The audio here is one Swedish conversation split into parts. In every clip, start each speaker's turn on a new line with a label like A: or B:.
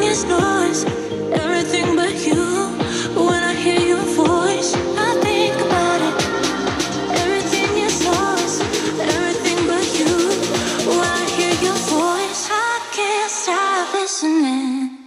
A: this noise, everything but you. When I hear your voice, I think about it. Everything is lost, everything but you. When I hear your voice, I can't stop listening.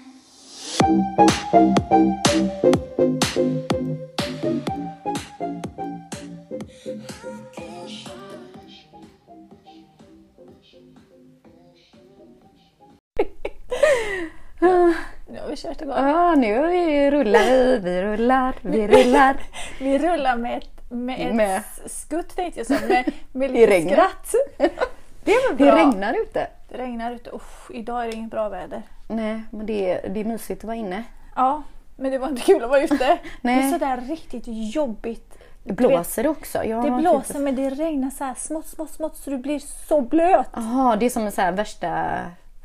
B: Nu har vi kört igång.
C: Ja, nu har vi rullar vi, vi rullar, vi rullar.
B: Vi rullar med ett, med ett
C: Med-
B: skutt tänkte jag säga, med, med
C: I
B: lite
C: regnet.
B: skratt. Det är väl bra.
C: Det regnar ute.
B: Det regnar ute. Usch, idag är det inget bra väder.
C: Nej, men det är, det är mysigt att vara inne.
B: Ja, men det var inte kul att vara ute.
C: Nej.
B: Det är sådär riktigt jobbigt.
C: Det blåser det också. Jag
B: Det
C: har typ inte-
B: blåser men det regnar så här smått, smått, smått så du blir så blöt.
C: Jaha, det är som en så här
B: Alltså,
C: värsta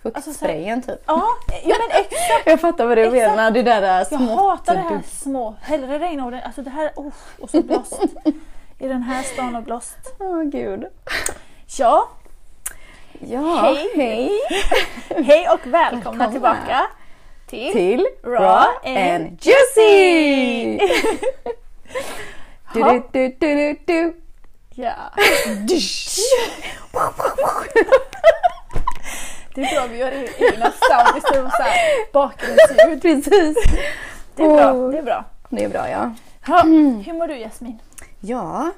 C: fuktsprayen typ.
B: Ja, ja men exakt.
C: Jag fattar vad du
B: Exakt.
C: menar. Det där, där
B: Jag
C: smått typ.
B: hatar det
C: och
B: här
C: dumt.
B: små. Hellre regn och regn. Alltså det här, oh, och så blåst. I den här stan och blåst.
C: Åh gud.
B: Ja,
C: Ja,
B: Hej.
C: hej
B: hej och välkomna
C: Välkomna.
B: tillbaka till
C: till
B: Raw
C: Raw
B: and
C: and Juicy! du,
B: Ha.
C: du, du, du, du, du.
B: Ja.
C: Alltså,
B: Det är bra vi gör egna sound istället för så här bakgrundsljud.
C: Precis.
B: Det är bra.
C: Åh.
B: Det är bra.
C: Det är bra ja.
B: Ha,
C: Mm.
B: hur mår du Jasmin?
C: Ja,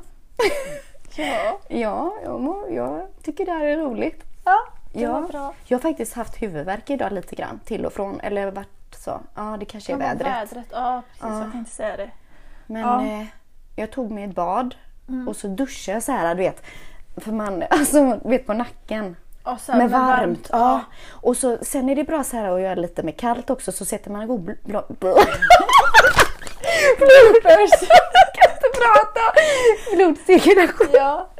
B: Ja,
C: ja jag, mår, jag tycker det här är roligt.
B: ja det
C: Ja.
B: var bra.
C: Jag har faktiskt haft huvudvärk idag lite grann till och från. Eller varit så. Ja, det kanske är
B: Ja, men
C: vädret.
B: vädret. Ja, precis.
C: Ja.
B: Jag tänkte säga det.
C: Men
B: Ja.
C: eh, jag tog mig ett bad och så duschade jag så här, du vet. För man, alltså, du vet på nacken.
B: Och så här,
C: Med
B: men
C: varmt. Ja. Och så, sen är det bra så här att göra lite med kallt också så sätter man igång bl- bl- bl-
B: Bloopers.
C: kan inte prata! Blodcirkulation.
B: Ja.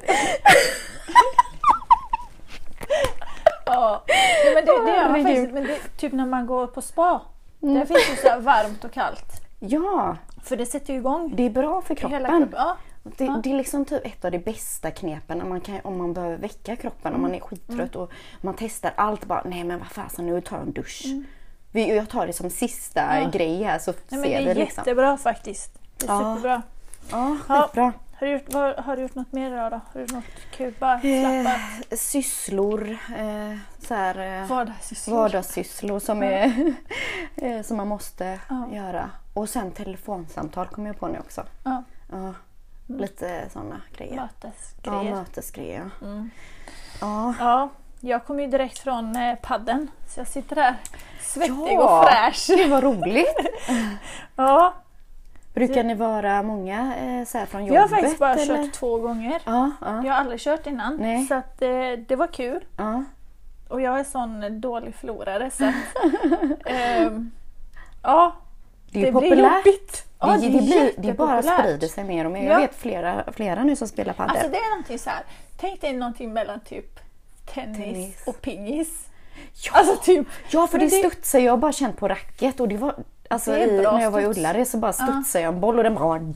B: ja. Nej, men det, det gör man
C: Herregud.
B: faktiskt. Men det, typ när man går på spa.
C: Mm.
B: Där finns det så här varmt och kallt.
C: Ja,
B: För det sätter ju igång
C: det är bra för kroppen.
B: hela kroppen. Ja.
C: Det, det är liksom typ ett av de bästa knepen när man kan, om man behöver väcka kroppen, om
B: Mm.
C: man är skittrött och man testar allt. Bara, Nej men vad fasen, nu tar jag en dusch. Vi, jag tar det som sista
B: Mm. Ja.
C: grej här så
B: Nej,
C: ser
B: men det
C: vi
B: är
C: liksom.
B: jättebra faktiskt. Det är
C: Ja.
B: superbra.
C: Ja,
B: Ja.
C: skitbra.
B: Har du, gjort, vad, har du gjort något mer idag då? Har du gjort något kul? Bara
C: Eh,
B: slappa
C: sysslor, eh, så här, eh,
B: vardagssysslor?
C: vardagssysslor som, är, eh, som man måste
B: Ja.
C: göra. Och sen telefonsamtal kommer jag på nu också.
B: Ja, Mm.
C: Ja, lite sådana grejer.
B: mötesgrejer. Mm.
C: Ja,
B: Ja,
C: mötesgrejer. Ja.
B: jag kom ju direkt från eh, padden så jag sitter här svettig
C: Ja.
B: och fräsch.
C: Det var roligt.
B: Ja,
C: Brukar ni vara många eh, så här från jobbet?
B: jag har faktiskt bara
C: eller?
B: kört två gånger.
C: Ja, ja,
B: Jag har aldrig kört innan
C: Nej.
B: så att, eh, det var kul.
C: ja.
B: Och jag är sån dålig förlorare så att, ehm, Ja,
C: Det är ju
B: blir
C: populärt.
B: jobbigt. Ja,
C: det, det, blir, det bara
B: jättepopulärt.
C: sprider sig mer och mer.
B: Ja.
C: Jag vet flera, flera nu som spelar padel.
B: Alltså det är någonting så här. Tänk dig någonting mellan typ tennis,
C: Tennis.
B: och pingis. Alltså typ.
C: ja, för det,
B: men det-
C: studsar. Jag har bara känt på racket och det var Alltså
B: Det är
C: i,
B: bra
C: när jag var i
B: studs.
C: Ullared så bara studsade jag en boll och den bara dong!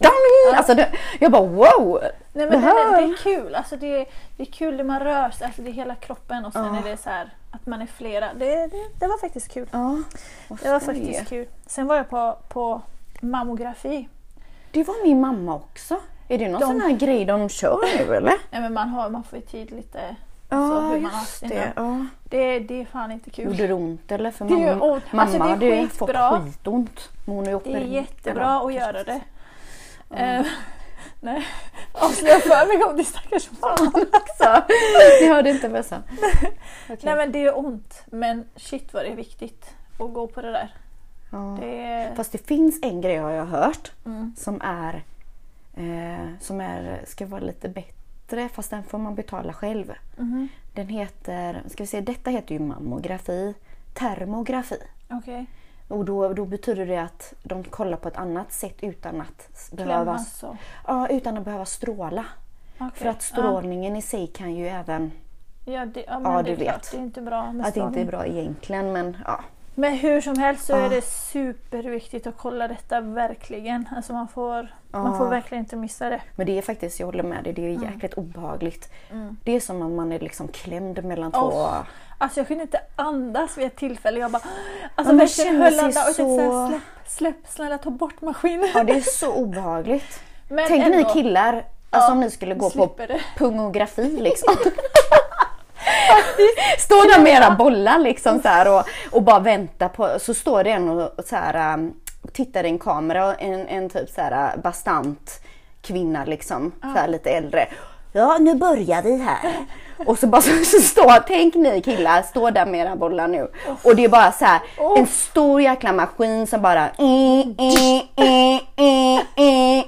C: Alltså det, jag bara wow!
B: Nej men det, det, det är kul. Alltså det, det är kul det man rör sig, alltså det är hela kroppen och sen
C: Ja.
B: är det så här att man är flera. Det, det, det var faktiskt kul.
C: Ja, vad
B: Det var
C: skoj.
B: faktiskt kul. Sen var jag på, på mammografi.
C: Det var min mamma också. Är det någon
B: De-
C: sån här grej de kör nu eller?
B: Nej men man, har, man får ju tid lite. Så
C: Ja,
B: Alltså, hur man har
C: just
B: sina-
C: det. Ja.
B: Det, det är fan inte kul.
C: Gjorde det ont eller? För
B: Det
C: mamma,
B: gör ont.
C: mamma
B: Alltså, det är
C: hade ju fått
B: skitbra.
C: skitont. Men Hon är ju
B: Det är
C: opererad.
B: jättebra
C: Eller,
B: att göra det.
C: Mm.
B: Eh, nej, avslöja för mig om det stackars mamma.
C: Så, ni hörde inte vad jag sa.
B: Nej men det är ont. Men shit vad det är viktigt att gå på det där.
C: Ja.
B: Det är...
C: Fast det finns en grej har jag hört
B: Mm.
C: som är eh, som är, ska vara lite bättre fast den får man betala själv.
B: Mhm.
C: Den heter, ska vi se, detta heter ju mammografi, termografi.
B: Okej.
C: Och då, då betyder det att de kollar på ett annat sätt utan att s- behöva,
B: Klämmas och...
C: ja, utan att behöva stråla.
B: alltså. Okej.
C: För att strålningen i sig kan ju även
B: Ja, ja, det, ja, men
C: Ja,
B: det är
C: du
B: klart,
C: vet.
B: Det är inte bra med
C: att det inte är
B: strålning.
C: bra egentligen men ja.
B: Men hur som helst så är
C: Ja.
B: det superviktigt att kolla detta verkligen. Alltså man får, man
C: Ja.
B: får verkligen inte missa det.
C: Men det är faktiskt, jag håller med dig, det är
B: Mm.
C: jäkligt obehagligt. Det är som om man är liksom klämd mellan två...
B: Alltså jag kunde inte andas vid ett tillfälle. Jag bara Alltså
C: men
B: verkligen
C: känner sig
B: höll andan och typ
C: så-
B: såhär, släpp, släpp, snälla ta bort maskinen.
C: Ja, det är så obehagligt.
B: Men
C: Tänk
B: ändå,
C: ni killar, alltså
B: Ja,
C: om ni skulle gå på
B: slipper det.
C: pungografi liksom. Stå där med era bollar liksom så här och, och bara vänta på, så står det en och så här, um, tittar i en kamera, och en, en typ så här uh, bastant kvinna liksom, så här lite äldre. Ja, nu börjar vi här. Och så bara så, så står, tänk ni killar, stå där med era bollar nu. Och det är bara så här, en stor jäkla maskin som bara eh,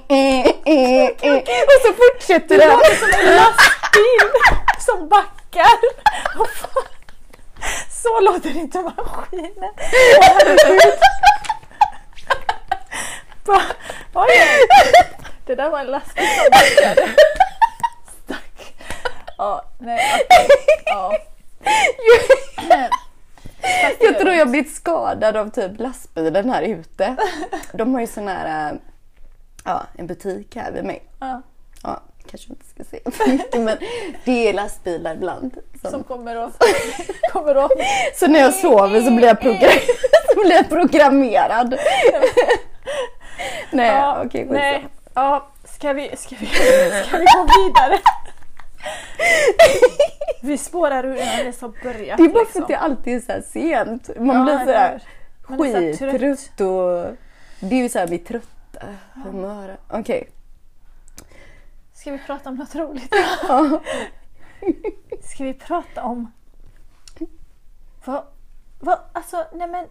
C: Och så eh, fortsätter
B: Det
C: den.
B: låter som en lastbil som backar. Vad fan? Så låter inte maskinen. Åh, herregud. Bara, Oj, det där var en lastbil som backade. Stack. Ja, nej, okej. ja.
C: Jag tror jag blivit skadad av typ lastbilen här ute. De har ju sån här, eh, ja en butik här vid mig.
B: Ja,
C: Ja, kanske inte ska se för mycket men det är lastbilar ibland.
B: som
C: Som,
B: kommer och, kommer och
C: så när jag sover så blir jag, progra- så blir jag programmerad. Nej,
B: Ja,
C: okej
B: Eh, nej.
C: skitsamma.
B: Ja, ska vi, ska vi, ska vi gå vidare? Vi spårar ur när det så börjat.
C: Det är bara för
B: liksom.
C: att det alltid är så här sent. Man
B: Ja,
C: blir så här
B: Man blir så här
C: skittrött och... Det är ju så här mitt trötta humör. Okej.
B: Ska vi prata om något roligt? Ska vi prata om... Vad, vad, alltså, nej men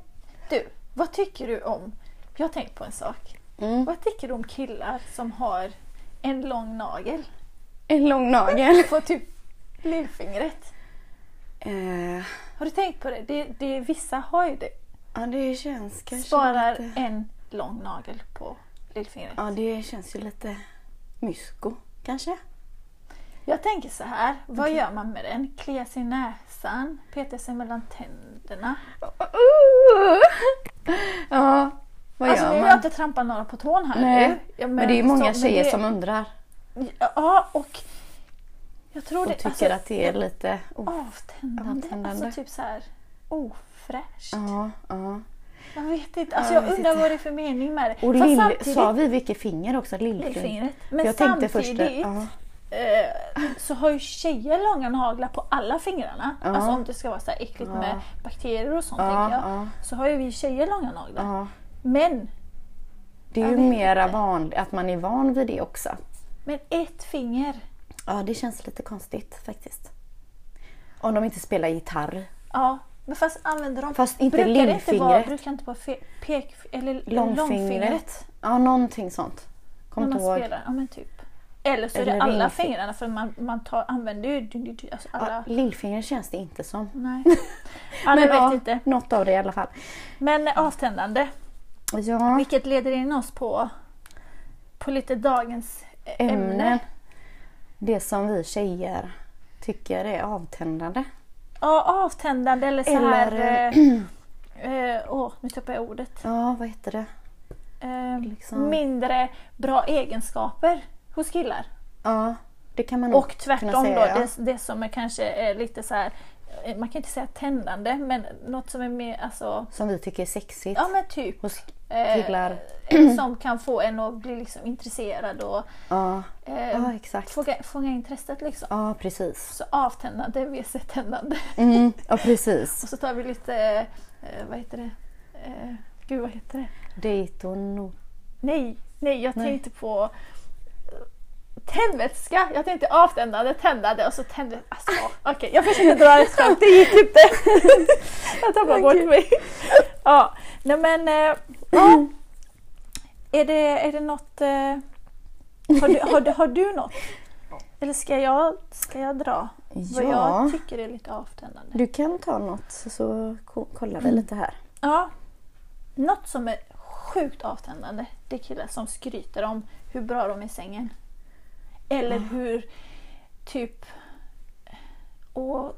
B: du, vad tycker du om... Jag har tänkt på en sak.
C: Mm.
B: Vad tycker du om killar som har en lång nagel
C: En lång nagel.
B: på typ lillfingret?
C: Eh,
B: Har du tänkt på det? det, det vissa har ju det.
C: ja, det känns kanske
B: Sparar
C: lite...
B: en lång nagel på lillfingret.
C: Ja, det känns ju lite mysko kanske.
B: Jag tänker så här, vad gör man med den? Kliar sig i näsan, petar sig mellan tänderna.
C: Ja, vad
B: alltså nu
C: gör
B: vill jag
C: man?
B: inte trampa några på tån här
C: Nej,
B: nu. Ja,
C: men det är ju många
B: så- men
C: tjejer
B: det-
C: som undrar
B: Ja, och jag tror det...
C: och tycker
B: alltså,
C: att det är lite... Oh.
B: avtändande,
C: avtändande.
B: alltså typ så här ofräscht.
C: Ja, ja.
B: Jag vet inte, alltså
C: Ja,
B: jag,
C: jag vet
B: undrar
C: inte.
B: vad det är för mening med det.
C: Och
B: Fast
C: lill...
B: samtidigt-
C: sa vi vilket finger också? Lillfingret.
B: Lillfingret. Men
C: jag tänkte
B: samtidigt
C: först... det- Ja.
B: eh, så har ju tjejer långa naglar på alla fingrarna.
C: Ja.
B: Alltså om det ska vara så här äckligt
C: Ja.
B: med bakterier och sånt
C: Ja,
B: tänker jag.
C: ja.
B: Så har ju vi tjejer långa naglar.
C: ja.
B: Men,
C: Det är
B: Jag
C: ju
B: vet
C: mera vanligt att man är van vid det också.
B: men ett finger.
C: Ja, det känns lite konstigt faktiskt. Om de inte spelar gitarr.
B: Ja, men fast använder de...
C: Fast inte
B: brukar det inte vara,
C: lillfingret.
B: Brukar inte vara fe- pek... Eller
C: Långfingret.
B: långfingret
C: Ja, någonting sånt. Kommer
B: när man
C: inte ihåg.
B: spelar? Ja, men typ. Eller så är det
C: Eller
B: alla
C: ringfing-
B: fingrarna för man, man tar, använder ju dy- dy- dy- alltså alla...
C: Ja, lillfingret känns det inte som.
B: Nej. Ja, det Mm. vet inte.
C: Något av det i alla fall.
B: Men avtändande.
C: Ja,
B: Vilket leder in oss på, på lite dagens eh,
C: ämnen.
B: ämne.
C: Det som vi tjejer tycker är avtändande.
B: Ja, avtändande eller så här...
C: Eller,
B: eh, eh, Åh, nu tappade jag ordet.
C: Ja, vad heter det?
B: Eh,
C: Liksom.
B: Mindre bra egenskaper hos killar.
C: Ja, det kan man nog
B: Och tvärtom
C: Mm, kunna säga,
B: då,
C: ja.
B: det, det som är kanske är lite så här, eh, man kan inte säga tändande, men något som är mer alltså,
C: Som vi tycker är sexigt.
B: ja men typ.
C: Hos
B: eh,
C: killar.
B: som kan få en att bli liksom intresserad och
C: Ja,
B: eh,
C: ja exakt.
B: fånga, fånga intresset liksom.
C: Ja, precis.
B: Så avtändande, WC tändande.
C: Mm, ja, precis.
B: Och så tar vi lite, eh, vad heter det? Eh, gud vad heter det?
C: Dayton.
B: Nej, nej jag
C: Nej.
B: tänkte på eh, tändvätska. Jag tänkte avtändande, tändande och så tände... Alltså, okej, jag försökte dra ett skämt. Det gick inte. jag tappade bort mig. ja, nej men... eh, Ja. Är det, är det något... eh, Har du, har, du, har du något? Eller ska jag, ska jag dra vad
C: Ja,
B: jag tycker är lite avtändande?
C: du kan ta något så ko- kollar vi lite här.
B: Ja. Något som är sjukt avtändande det är killar som skryter om hur bra de är i sängen. Eller hur typ... Och,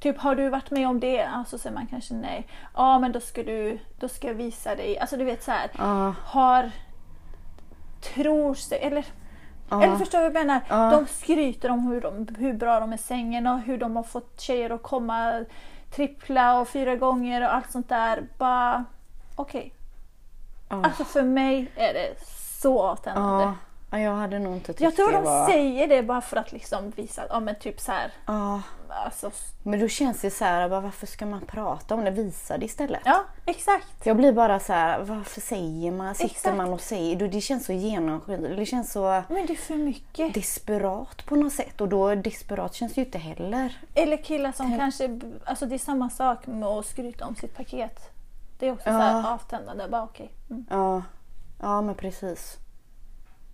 B: typ har du varit med om det? Ja, så säger man kanske nej. Ja men då ska du då ska jag visa dig. Alltså du vet så här.
C: Ja,
B: Har... Tror sig... Eller,
C: ja.
B: eller förstår du vad jag menar?
C: Ja.
B: De skryter om hur, de, hur bra de är i sängen och hur de har fått tjejer att komma trippla och fyra gånger och allt sånt där. Bara okej.
C: Ja.
B: Alltså för mig är det så avtändande.
C: Ja. Ja, jag hade nog inte tyckt
B: Jag tror
C: det
B: de
C: var...
B: säger det bara för att liksom visa att ja, men typ så här,
C: Ja.
B: alltså,
C: Men då känns det så här, bara, varför ska man prata om det? Visa det istället.
B: ja exakt.
C: Jag blir bara så här, varför säger man? Sitter
B: Exakt.
C: man och säger? Då Det känns så genomskinligt. Det känns så
B: Men det är för mycket.
C: desperat på något sätt. Och då desperat känns det ju inte heller.
B: Eller killar som kanske, b- alltså det är samma sak med att skryta om sitt paket. Det är också
C: Ja.
B: så här avtändande, bara okej. Mm.
C: Ja, ja men precis.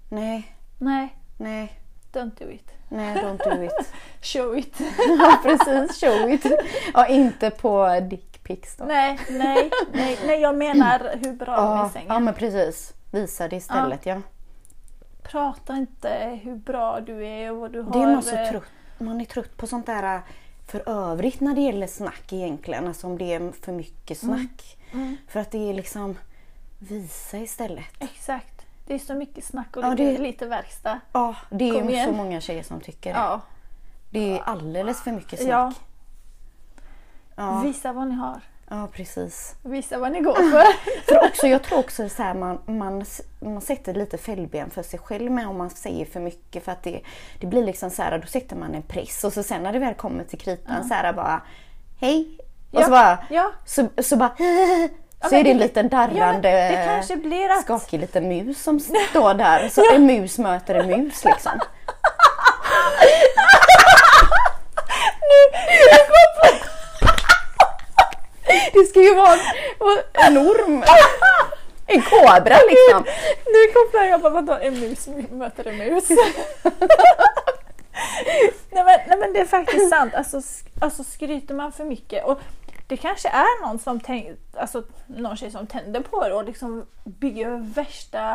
C: Nej,
B: Nej,
C: nej,
B: don't do it.
C: nej don't do it.
B: Show it.
C: ja precis, show it. Ja, inte på dickpics då.
B: nej, nej, nej, nej, jag menar hur bra de är i
C: ja, ja
B: sängen.
C: men precis. Visa det istället ja.
B: Prata inte hur bra du är och vad du har.
C: Det är man, så
B: eh,
C: trött, man är trött på sånt där eh, för övrigt när det gäller snack egentligen. Alltså om det är för mycket
B: Mm.
C: snack. För att det är liksom visa istället.
B: Exakt. Det är så mycket snack och
C: Ja,
B: lite,
C: det-
B: lite verkstad.
C: Ja, det är
B: Kom
C: ju så
B: igen.
C: många tjejer som tycker det.
B: Ja.
C: Det är alldeles för mycket
B: Ja.
C: snack. Ja, ja,
B: Visa vad ni har.
C: precis.
B: Visa vad ni går för.
C: För också, jag tror också så här, man, man, s- man sätter lite fällben för sig själv med om man säger för mycket. För att det, det blir liksom så här, då sätter man en press och så sen när det väl kommer till kritan så här bara Hej! Och så
B: Ja,
C: bara,
B: ja.
C: så, så bara Så
B: men
C: är det en
B: det-
C: liten
B: Ja, men
C: darrande
B: det kanske blir att...
C: skakig liten mus som står där. Så en mus möter en mus liksom. Det ska ju vara en, en orm. En kobra liksom.
B: Nu kopplar jag bara, vadå en mus möter en mus? nej, men, nej men det är faktiskt sant, alltså, sk- alltså skryter man för mycket och det kanske är någon som tänk, alltså, någon tjej som tänder på det och liksom bygger värsta,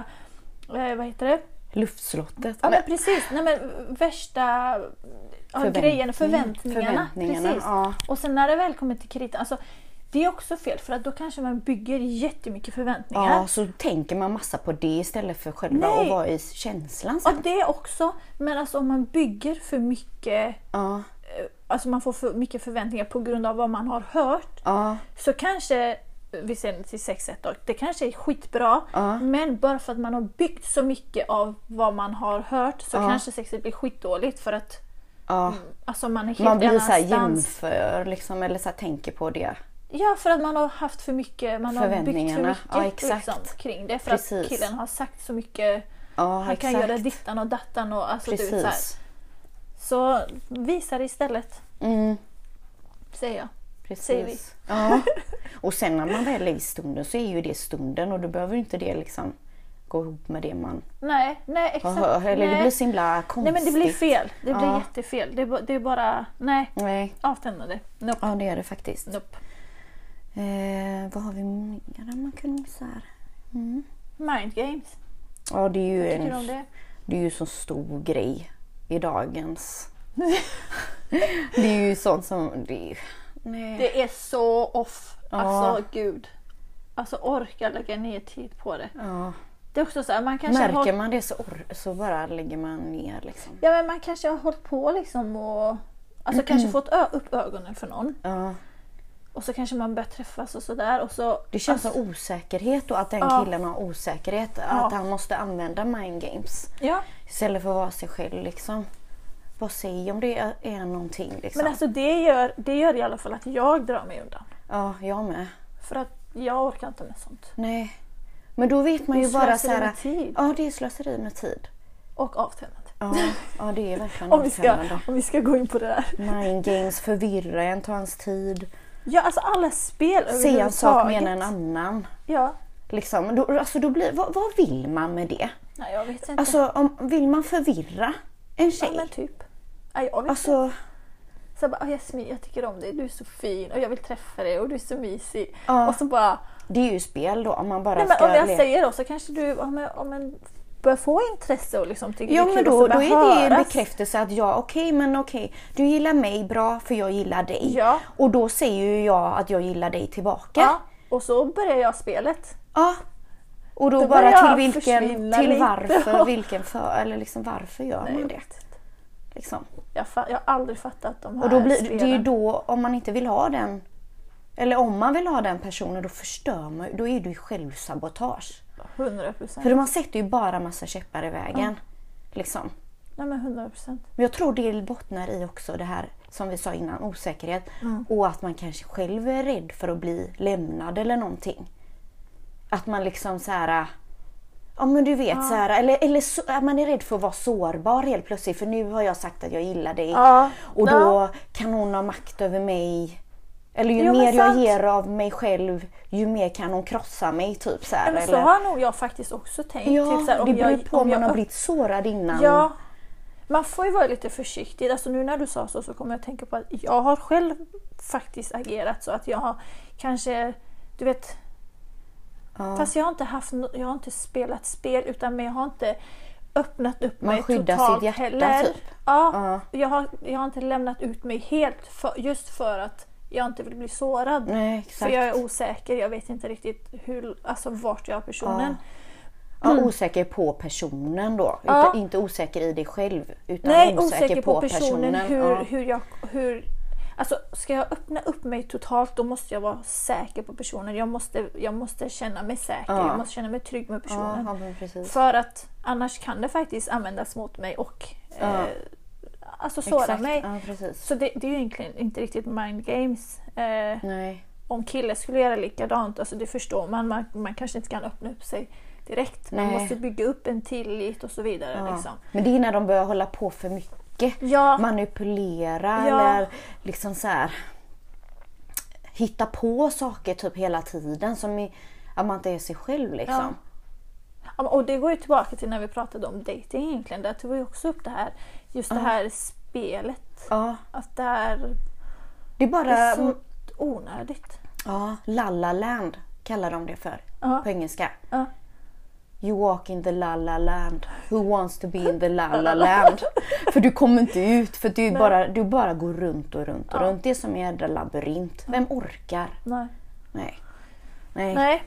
B: eh, vad heter det?
C: Luftslottet.
B: Ja men precis, nej men värsta ja,
C: Förväntning-
B: grejen, förväntningarna.
C: mm, förväntningarna,
B: precis.
C: ja.
B: Och sen när det väl kommer till kritan, alltså, det är också fel för att då kanske man bygger jättemycket förväntningar.
C: Ja, så tänker man massa på det istället för själva
B: Nej.
C: att vara i känslan
B: Ja,
C: sen.
B: det också. Men alltså om man bygger för mycket,
C: Ja,
B: alltså man får för mycket förväntningar på grund av vad man har hört.
C: ja,
B: Så kanske, vi ser till sexet då, det kanske är skitbra.
C: Ja.
B: Men bara för att man har byggt så mycket av vad man har hört så
C: Ja.
B: kanske sexet blir skitdåligt för att
C: ja.
B: alltså, man är helt
C: Man blir så här
B: annanstans.
C: jämför liksom, eller så här tänker på det.
B: Ja, för att man har haft för mycket, man har byggt för
C: Förväntningarna.
B: mycket
C: Ja, exakt.
B: Liksom, kring det. För att
C: Precis.
B: killen har sagt så mycket,
C: Ja,
B: han
C: exakt.
B: kan göra dittan och dattan och alltså du vet så, här.
C: Precis.
B: så visa det istället,
C: Mm,
B: säger jag. Säger vi.
C: precis. Ja. Och sen när man väl är i stunden så är ju det stunden och då behöver ju inte det liksom gå ihop med det man
B: Nej, nej
C: har
B: exakt.
C: hört. Eller
B: nej.
C: det blir så himla
B: nej
C: konstigt.
B: men det blir fel. Det blir
C: Ja.
B: jättefel. Det är, ba- det är bara, nej,
C: Nej,
B: avtändande. Nope.
C: ja det är det faktiskt.
B: nope.
C: Eh, vad har vi mer man kunde så här? Mm.
B: Mind games.
C: Ja, det är ju
B: Tycker du
C: en
B: om det?
C: Det är ju så stor grej i dagens... det är ju sånt som... Det, nej.
B: Det är så off.
C: Ja.
B: Alltså gud. Alltså orka lägga ner tid på det.
C: ja.
B: Det är också så här, man kanske har
C: Märker
B: hållit,
C: man det så, or- så bara lägger man ner liksom.
B: Ja men man kanske har hållit på liksom och Alltså kanske fått ö- upp ögonen för någon
C: Ja.
B: och så kanske man börjar träffas och sådär och så...
C: Det känns
B: alltså,
C: som osäkerhet och att den
B: Ja.
C: killen har osäkerhet. Att han måste använda mind games
B: Ja,
C: istället för att vara sig själv liksom. Vad säger om det är, är någonting liksom?
B: men alltså det gör, det gör i alla fall att jag drar mig undan.
C: Ja, jag med.
B: För att jag orkar inte med sånt.
C: Nej. Men då vet man
B: Det
C: ju
B: är
C: bara så
B: slöseri
C: här...
B: med tid.
C: Ja, det är slöseri med tid.
B: och avtändande.
C: Ja, ja det är verkligen
B: Om vi, ska,
C: avtändande.
B: om vi ska gå in på det där.
C: Mind games, förvirra en, ta ens tid.
B: Ja, alltså alla spel
C: Säga en sak mena en annan.
B: Ja,
C: Liksom, då, alltså då blir, vad, vad vill man med det?
B: nej jag vet inte.
C: Alltså om, vill man förvirra en
B: ja,
C: tjej?
B: men typ. Nej, jag vet inte.
C: Alltså,
B: Så jag bara, "Ah, Jasmin jag tycker om dig, du är så fin och jag vill träffa dig och du är så mysig.
C: Ja.
B: Och så bara,
C: det är ju spel då om man bara
B: nej men
C: ska...
B: om jag
C: le-
B: säger då så kanske du om en, om en börjar få intresse och liksom tycker
C: Ja
B: det är
C: men
B: kul och
C: då,
B: så
C: då
B: börjar
C: är det ju en
B: höras.
C: bekräftelse att ja okej men okej du gillar mig bra för jag gillar dig.
B: Ja.
C: Och då säger ju jag att jag gillar dig tillbaka.
B: Ja, och så börjar jag spelet.
C: Ja. Och då,
B: Då
C: bara
B: börjar
C: till vilken,
B: försvinna
C: till
B: lite.
C: varför, vilken för, eller liksom varför gör
B: Nej,
C: man
B: jag
C: det?
B: vet inte.
C: Liksom.
B: Jag, fa- jag har aldrig fattat de här
C: Och då blir, det
B: spelen.
C: är ju då, om man inte vill ha den Eller om man vill ha den personen då förstör man ju- då är det ju självsabotage.
B: 100 procent.
C: För man sätter ju bara massa käppar i vägen. Liksom.
B: Nej men 100 procent.
C: Men jag tror det bottnar i också det här som vi sa innan, osäkerhet. Och att man kanske själv är rädd för att bli lämnad eller någonting. Att man liksom så här... Ja men du vet så här, eller, eller så, att man är rädd för att vara sårbar helt plötsligt för nu har jag sagt att jag gillar dig
B: Ja.
C: och då
B: Ja.
C: kan hon ha makt över mig. Eller ju
B: Jo, men
C: mer jag
B: sant.
C: ger av mig själv ju mer kan hon krossa mig typ så här.
B: Men Alltså, så
C: eller,
B: har nog jag faktiskt också tänkt.
C: ja,
B: typ så här,
C: det beror ju på om, man
B: jag
C: har blivit sårad innan.
B: Ja. Man får ju vara lite försiktig. Alltså nu när du sa så så kommer jag att tänka på att jag har själv faktiskt agerat så att jag har kanske, du vet,
C: Ja.
B: fast jag har inte haft, no- jag har inte spelat spel utan men jag har inte öppnat upp
C: Man
B: mig
C: skyddar
B: totalt
C: sitt hjärta,
B: heller.
C: typ.
B: Ja,
C: Ja.
B: Jag, har, jag har inte lämnat ut mig helt för, just för att jag inte vill bli sårad.
C: Nej, exakt.
B: För jag är osäker, jag vet inte riktigt hur, alltså vart jag har personen.
C: Ja, osäker på personen då.
B: Mm. Ja.
C: Utan, inte osäker i dig själv. Utan
B: Nej, osäker, på, personen. Hur, hur jag, hur, alltså, ska jag öppna upp mig totalt då måste jag vara säker på personen. Jag måste, jag måste känna mig säker,
C: Ja.
B: jag måste känna mig trygg med
C: ja.
B: personen.
C: ja, men precis.
B: För att annars kan det faktiskt användas mot mig och
C: Ja.
B: eh, alltså såra
C: Exakt.
B: mig.
C: Ja, precis.
B: Så det, det är ju egentligen inte riktigt mind games. Eh,
C: Nej.
B: om killen skulle göra likadant, alltså det förstår man. man. Man kanske inte kan öppna upp sig direkt. Man
C: Nej.
B: måste bygga upp en tillit och så vidare.
C: Ja.
B: Liksom.
C: Men det är när de börjar hålla på för mycket.
B: Ja.
C: Manipulera
B: Ja.
C: eller liksom så här hitta på saker typ hela tiden som är, att man inte är sig själv liksom.
B: Ja, men- Och det går ju tillbaka till när vi pratade om dating egentligen. Där tog vi också upp det här, just det här spelet.
C: Ja.
B: Att det är
C: Det är bara
B: så onödigt.
C: ja, Lalla Land kallar de det för
B: Ja.
C: på engelska.
B: Ja.
C: You walk in the la la land. Who wants to be in the la la land? För du kommer inte ut för du bara, du bara går runt och runt och runt. Det är som en jädra labyrint. Vem orkar?
B: Nej.
C: Nej. Nej.
B: Nej.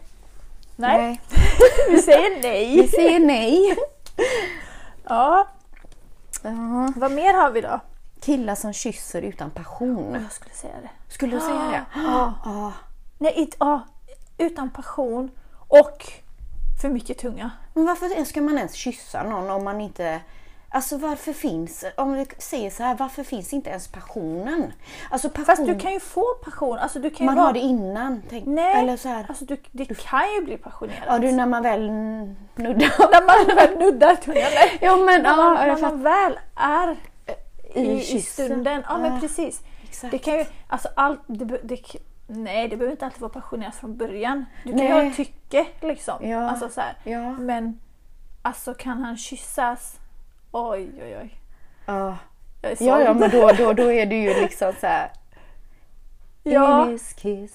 B: Nej.
C: Nej.
B: Vi säger
C: Vi
B: nej.
C: säger nej.
B: Ja.
C: Ja.
B: Vad mer har vi då?
C: Killar som kysser utan passion.
B: Jag skulle säga det.
C: Skulle du säga det?
B: Ja.
C: Ja.
B: Nej, inte, ja. Utan passion och för mycket tunga.
C: Men varför ska man ens kyssa någon om man inte... Alltså varför finns, om vi säger så här, varför finns inte ens passionen? Alltså passion,
B: Fast du kan ju få passion. Alltså, du kan ju
C: man
B: vara...
C: har det innan. Tänk,
B: Nej,
C: Eller så här,
B: Alltså, du, det kan ju bli passionerat.
C: Ja du när man väl nuddar.
B: När man väl nuddar tungan. Nej.
C: ja men
B: när man,
C: ja, jag
B: när
C: fattar.
B: man väl är i, i
C: kyssen.
B: stunden. Ja,
C: Ja,
B: men precis.
C: exakt.
B: Det kan ju, alltså allt, det, be- det, k- nej det behöver inte alltid vara passionerat från början. Du kan ju
C: Nej.
B: ha ett tycke liksom.
C: Ja.
B: Alltså, så här.
C: Ja.
B: Men alltså kan han kyssas? Oj oj oj.
C: Ja.
B: Jag är
C: ja
B: såld.
C: ja men då, då, då är det ju liksom så här.
B: Ja,
C: It is kiss,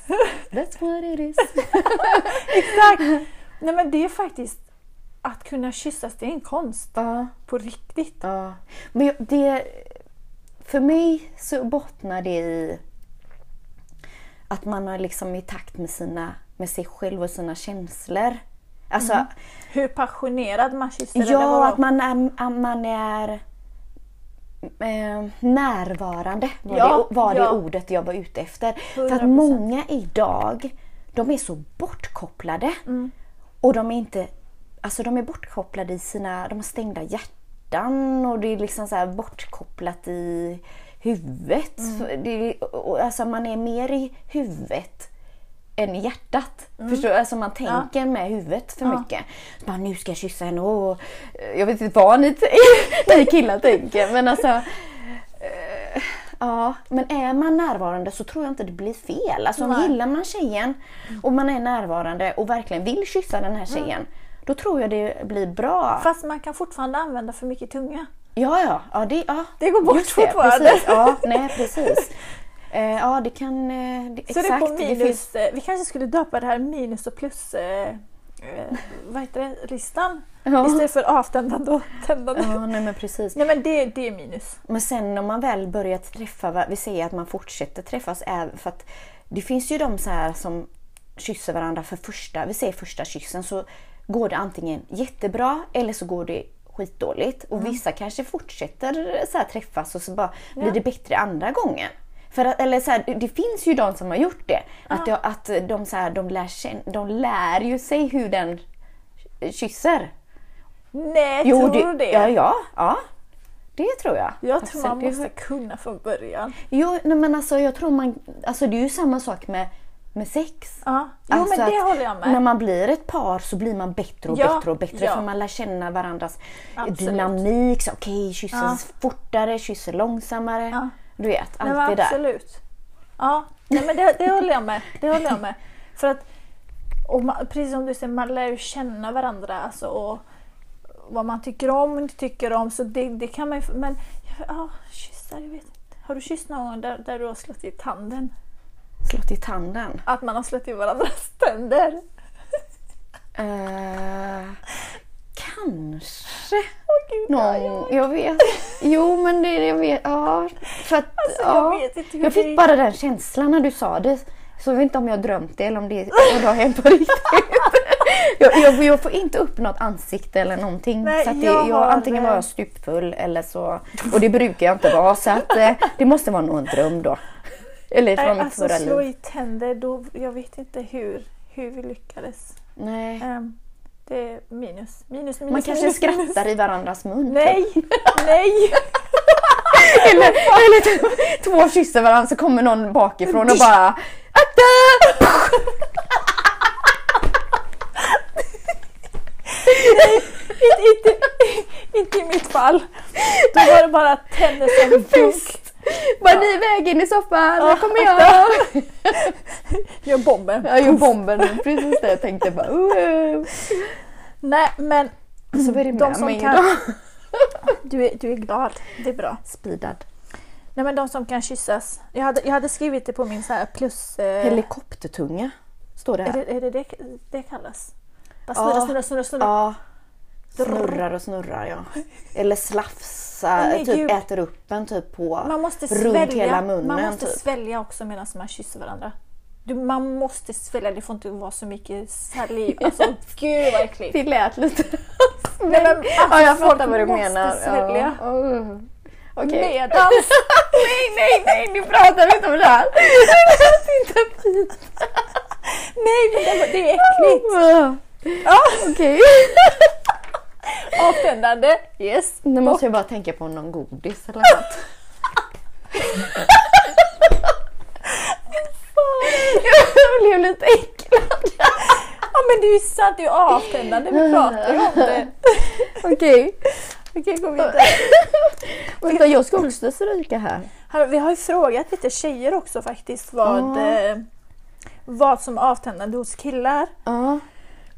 C: that's what it is.
B: exakt. Nej men det är faktiskt att kunna kyssas, det är en konst
C: Ja,
B: på riktigt.
C: ja. Men jag- det, för mig så bottnar det i att man är liksom i takt med, sina, med sig själv och sina känslor. Alltså,
B: Hur passionerad man kysser eller
C: Ja,
B: vad-
C: att man är, att man är eh, närvarande var,
B: Ja,
C: det, var
B: ja.
C: det ordet jag var ute efter. För att
B: 100%.
C: många idag, de är så bortkopplade.
B: Mm.
C: Och de är inte, alltså de är bortkopplade i sina, de har stängda hjärtan och det är liksom så här bortkopplat i huvudet.
B: Mm.
C: Det, och, alltså man är mer i huvudet än i hjärtat.
B: Mm.
C: Förstår du? Alltså man tänker med huvudet för mycket. Så bara, nu ska jag kyssa henne och eh, jag vet inte vad ni, t- ni killar tänker men alltså eh, Ja, men är man närvarande så tror jag inte det blir fel. Alltså om
B: Nej. Mm.
C: gillar man tjejen och man är närvarande och verkligen vill kyssa den här tjejen, då tror jag det blir bra.
B: Fast man kan fortfarande använda för mycket tunga.
C: Ja, ja, ja, det, ja.
B: Det går bort
C: Just
B: fortfarande.
C: Precis, ja, nej, precis. Eh, ja, det kan... Eh, det,
B: Så
C: exakt,
B: det är på minus,
C: finns-
B: eh, vi kanske skulle döpa det här minus och plus eh, eh, vad heter det, listan
C: Ja.
B: istället för avtändande och tändande.
C: Ja, nej men precis.
B: Nej men det, det är minus.
C: Men sen om man väl börjar träffa, va- vi säger att man fortsätter träffas även för att det finns ju de så här som kysser varandra för första, vi säger första kyssen så går det antingen jättebra eller så går det
B: Mm.
C: skitdåligt och vissa kanske fortsätter så här träffas och så bara blir det bättre andra gången. För att, eller så här, det- det finns ju de som har gjort det. Att, jag, att de, så här, de, lär, känn- de lär ju sig hur den kysser.
B: Nej, tror du det?
C: Ja, ja, ja. Det tror jag.
B: Jag tror man
C: Absolut.
B: måste kunna från början.
C: Jo, nej, men alltså jag tror man... Alltså det är ju samma sak med, med sex.
B: Ja. Jo
C: Alltså
B: men det
C: att
B: håller jag med.
C: När man blir ett par så blir man bättre och
B: Ja,
C: bättre och bättre
B: ja.
C: för man lär känna varandras
B: Absolut.
C: dynamik. Så, Okej, kysser
B: Ja.
C: fortare, kysser långsammare.
B: Ja.
C: Du vet,
B: Nej,
C: allt
B: men
C: det där.
B: absolut. Ja, nej, men det, det håller jag med. Det håller jag med. För att, och man, precis som du säger, man lär ju känna varandra. Alltså, och vad man tycker om och inte tycker om. Så det, det kan man ju, men ja, kyssar, jag vet inte. Har du kysst någon gång där, där du har slått i tanden?
C: Slått i tanden.
B: Att man har slått i varandras tänder?
C: Eh, kanske
B: Åh gud, ja, ja.
C: någon, jag vet. Jo men det, jag vet, ja. För att,
B: Alltså,
C: ja.
B: jag vet inte hur
C: Jag
B: det är.
C: fick bara den känslan när du sa det. Så jag vet inte om jag har drömt det eller om det om det har hänt på riktigt. Jag, jag, jag får inte upp något ansikte eller någonting.
B: Nej,
C: så att det,
B: jag
C: jag,
B: har-
C: antingen var jag stupfull eller så... Och det brukar jag inte vara så att eh, det måste vara någon dröm då. Eller från
B: Nej,
C: mitt
B: alltså
C: förra
B: slå
C: liv.
B: i tänder, då, jag vet inte hur, hur vi lyckades.
C: Nej.
B: Ehm, det är minus, minus, minus.
C: Man kanske
B: minus,
C: skrattar i varandras mun. typ.
B: Nej, nej!
C: Eller, eller typ, två kysser varandra så kommer någon bakifrån och bara Akta!
B: inte, inte, inte i mitt fall. Då var det bara tänder som dunk.
C: Fest! Bara ny väg in i soffan, här kommer jag!
B: Gör bomben.
C: Jag gjorde bomben, precis det jag tänkte bara uh.
B: Nej men
C: Så är det
B: de
C: med
B: som
C: mig
B: kan...
C: idag.
B: Du är, du är glad, det är bra.
C: Speedad.
B: Nej men de som kan kyssas. Jag hade, jag hade skrivit det på min så här plus... Eh,
C: Helikoptertunga står det
B: är
C: här.
B: det är det, det det kallas? Bara snurra,
C: Ja.
B: snurra, snurra, snurra.
C: Ja. Snurrar och snurrar ja. Eller slafsar,
B: Nej,
C: typ
B: gud.
C: äter upp en typ på
B: Man måste
C: runt
B: svälja,
C: hela munnen.
B: man måste
C: typ.
B: svälja också medan man kysser varandra. Du, man måste svälja, det får inte vara så mycket saliv. Alltså gud vad äckligt.
C: Det lät lite...
B: Nej, men, alltså,
C: ja, jag
B: folk
C: fattar vad du
B: måste
C: menar.
B: svälja.
C: Ja. Uh. Okej.
B: Medans
C: Nej, nej, nej, nu pratar vi inte om det här. Det känns inte fint.
B: Nej, men det, var- det är äckligt.
C: Ja, okej.
B: Avtändande. Yes.
C: Nu måste jag bara tänka på någon godis eller något. Jag blev lite äcklad.
B: Ja, men det är ju sant. Det är ju avtändande. Vi pratar ju om det.
C: Okej.
B: Okej, gå vidare.
C: Vänta, jag ska också stryka här.
B: Här, Vi har ju frågat lite tjejer också faktiskt vad, eh, vad som är avtändande hos killar.
C: Ja.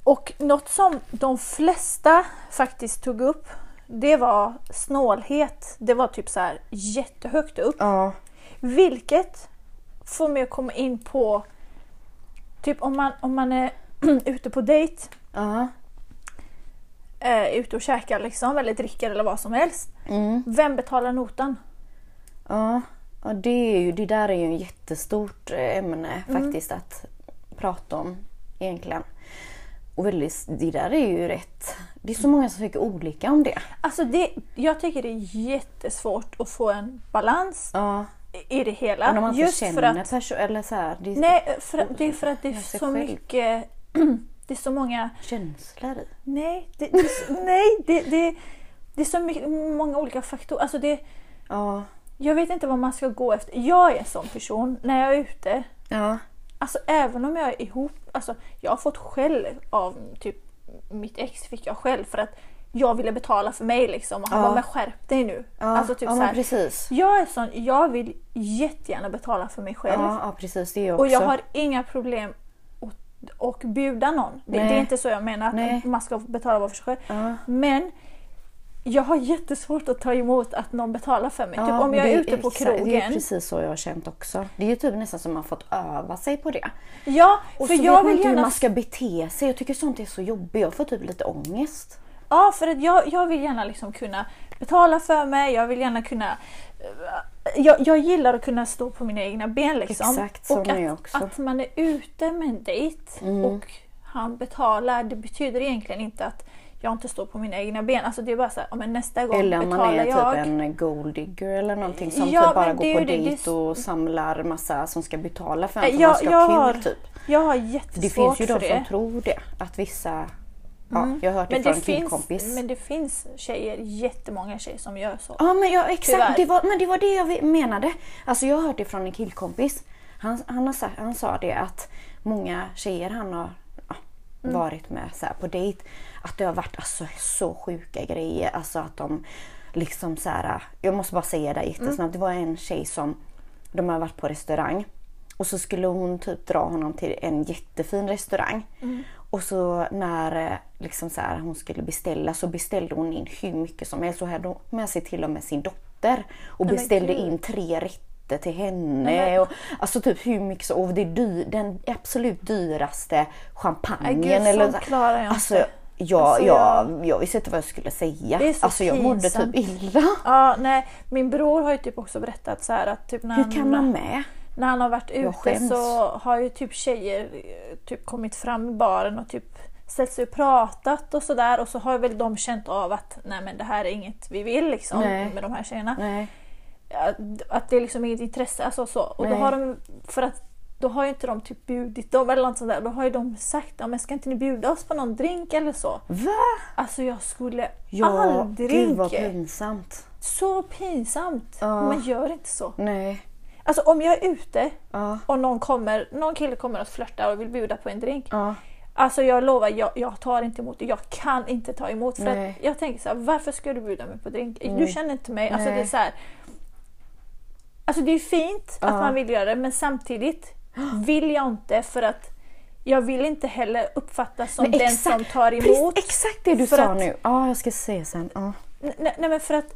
B: Och något som de flesta faktiskt tog upp det var snålhet. Det var typ så här jättehögt upp.
C: Ja.
B: Vilket får mig att komma in på typ om man, om man är ute på dejt
C: Ja.
B: eh, ute och käkar liksom, eller dricker eller vad som helst.
C: Mm.
B: Vem betalar notan?
C: Ja. Ja, det, är ju, det där är ju ett jättestort eh, ämne faktiskt att prata om egentligen. Och väldigt, det där är ju rätt. Det är så många som tycker olika om det.
B: Alltså det, jag tycker det är jättesvårt att få en balans
C: Ja.
B: i- i det
C: Men om
B: hela.
C: man inte
B: Just för
C: känner
B: att,
C: person... Eller så här, det är
B: nej, för, att- det är för att det är
C: sig
B: så
C: själv.
B: mycket, det är så många,
C: känslor i.
B: nej, det, det, är så- nej, det, det, det är så mycket, många olika faktorer. Alltså det,
C: Ja.
B: jag vet inte vad man ska gå efter. Jag är en sån person, när jag är ute,
C: Ja.
B: Alltså även om jag är ihop, alltså jag har fått skäll av typ mitt ex fick jag skäll för att jag ville betala för mig liksom och han
C: Ja.
B: bara men skärp dig nu.
C: Ja,
B: alltså typ
C: ja
B: så
C: men
B: här,
C: precis.
B: jag är sån, jag vill jättegärna betala för mig själv
C: Ja, ja, precis. Det är jag också.
B: Mm. och jag har typ inga problem att- och bjuda någon. Det, det är
C: Nej.
B: inte så jag menar att
C: Nej.
B: man ska betala var för sig själv.
C: Ja.
B: Men jag har jättesvårt att ta emot att någon betalar för mig. typ
C: Ja,
B: om jag
C: det
B: är ute på
C: exakt- Det är
B: krogen.
C: precis så jag har känt också. Det är ju typ nästan som man fått öva sig på det.
B: Ja,
C: Och
B: för
C: så vet
B: jag
C: man
B: vill
C: inte hur
B: gärna
C: man ska bete sig. Jag tycker sånt är så jobbigt. Jag får typ lite ångest.
B: Ja, för att jag, jag vill gärna liksom kunna betala för mig, jag vill gärna kunna... eh, Jag, jag gillar att kunna stå på mina egna ben liksom.
C: Exakt, sån
B: och
C: är jag
B: att,
C: också. Mm.
B: att man är ute med en dejt och han betalar, det betyder egentligen inte att jag inte står på mina egna ben. Alltså det är bara så här, ja, men nästa gång
C: Eller om man
B: betalar
C: är typ
B: jag.
C: en gold digger eller någonting som
B: Ja,
C: typ bara
B: men det
C: går
B: är
C: på
B: ju det, det är
C: dit
B: så-
C: och samlar massa som ska betala för en
B: Nej,
C: för man
B: jag-
C: ska
B: jag
C: ha
B: har
C: kul typ.
B: Jag har
C: Det
B: jättesvårt
C: finns ju
B: för
C: de
B: det. Mm.
C: som tror det. Att vissa, ja, jag har hört det
B: men
C: från
B: det,
C: en killkompis.
B: finns, men det finns tjejer, jättemånga tjejer som gör så.
C: Ja men jag, exakt,
B: Tyvärr.
C: det var, men det var det jag menade. Alltså jag har hört det från en killkompis. Han, han, har sagt, han sa det att många tjejer han har ja,
B: Mm.
C: varit med så här, på dejt, att det har varit alltså, så sjuka grejer. Alltså att de liksom så här, jag måste bara säga det jättesnabbt.
B: Mm.
C: Det var en tjej som, de har varit på restaurang och så skulle hon typ dra honom till en jättefin restaurang.
B: Mm.
C: Och så när eh, liksom så här, hon skulle beställa så beställde hon in hur mycket som helst. Så hade hon med sig till och med sin dotter och
B: men
C: beställde
B: gud.
C: in tre rätter till
B: Nej,
C: henne.
B: men-
C: Och, alltså typ hur mycket som, och det dy, den absolut dyraste champagnen.
B: Nej, gud,
C: eller,
B: sånt klarar jag
C: alltså,
B: inte.
C: Jag,
B: Alltså,
C: jag, jag visste inte vad jag skulle säga.
B: Det är så
C: alltså jag mådde typ
B: pinsamt.
C: illa.
B: Ja, nej, min bror har ju typ också berättat så här att typ när
C: Hur kan
B: han,
C: man med?
B: när han har varit ute
C: skäms.
B: så har ju typ tjejer eh, typ kommit fram i baren och typ ställt sig och pratat och sådär och så har väl de känt av att nej men det här är inget vi vill liksom
C: Nej.
B: med de här tjejerna.
C: Nej.
B: Att, att det är liksom inget intresse. Alltså, så. Och då
C: Nej.
B: har de, för att då har ju inte de typ bjudit dem eller något sånt där. Då har ju de sagt ja, men ska inte ni bjuda oss på någon drink eller så.
C: Va?
B: Alltså jag skulle
C: Ja,
B: aldrig.
C: gud vad pinsamt.
B: Så pinsamt!
C: Ja.
B: Man gör inte så.
C: Nej.
B: Alltså om jag är ute
C: Ja.
B: och någon, kommer, någon kille kommer att flörta och vill bjuda på en drink.
C: Ja.
B: Alltså jag lovar, jag, jag tar inte emot det. Jag kan inte ta emot. För
C: Nej.
B: att jag tänker så här, varför ska du bjuda mig på drink? Du känner inte mig. Alltså
C: Nej.
B: det är så här, Alltså det är fint
C: Ja.
B: att man vill göra det men samtidigt vill jag inte för att jag vill inte heller uppfattas som
C: Nej,
B: den
C: exakt.
B: som tar
C: Precis,
B: emot.
C: exakt det du
B: För
C: sa
B: att-
C: nu. Ja, jag ska se sen. Ja.
B: Nej, nej men för att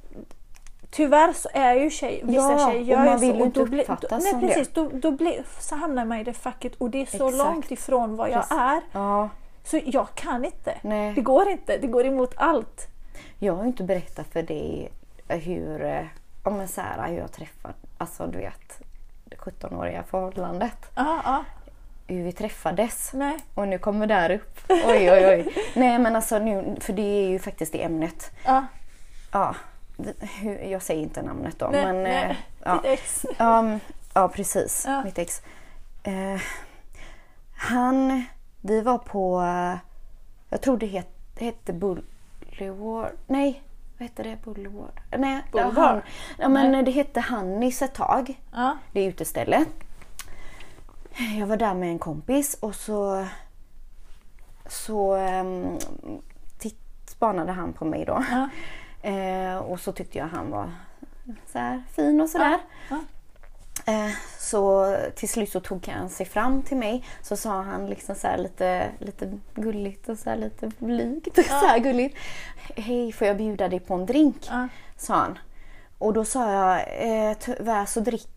B: tyvärr så är ju tjej, vissa
C: Ja,
B: tjejer
C: och
B: gör
C: man
B: ju
C: vill
B: så.
C: ju inte
B: då blir- då,
C: uppfattas
B: nej,
C: som det.
B: precis, Då, då blir, så hamnar man i det facket och det är så
C: Exakt.
B: långt ifrån vad jag
C: Precis.
B: är.
C: ja.
B: Så jag kan inte.
C: Nej.
B: Det går inte. Det går emot allt.
C: Jag har ju inte berättat för dig hur, eh, ja, men så här, hur jag träffade, alltså du vet, det 17-åriga förhållandet.
B: Ja, ja.
C: Hur vi träffades.
B: Nej.
C: Och nu kommer det här upp. Oj, oj, oj. Nej, men alltså nu, för det är ju faktiskt det ämnet.
B: Ja.
C: Ja, det- hur- jag säger inte namnet då,
B: Nej,
C: men...
B: nej.
C: eh, Ja.
B: Ditt ex.
C: Ja, m- ja precis.
B: Ja.
C: Mitt ex. Eh, han, vi var på, eh, jag tror det het, hette Boulevard, nej vad hette det? Boulevard? Nej, ja,
B: Boulevard.
C: han, ja, men det hette Hannis ett tag,
B: Ja.
C: det utestället. Jag var där med en kompis och så, så um, titt, spanade han på mig då.
B: Ja.
C: Eh, och så tyckte jag han var så här fin och sådär.
B: Ja.
C: Eh, Så till slut så tog han sig fram till mig så sa han liksom så här lite, lite gulligt och så här lite blygt. Så här gulligt. Hej, får jag bjuda dig på en drink?
B: Ja.
C: Sa han. Och då sa jag eh, tyvärr så drick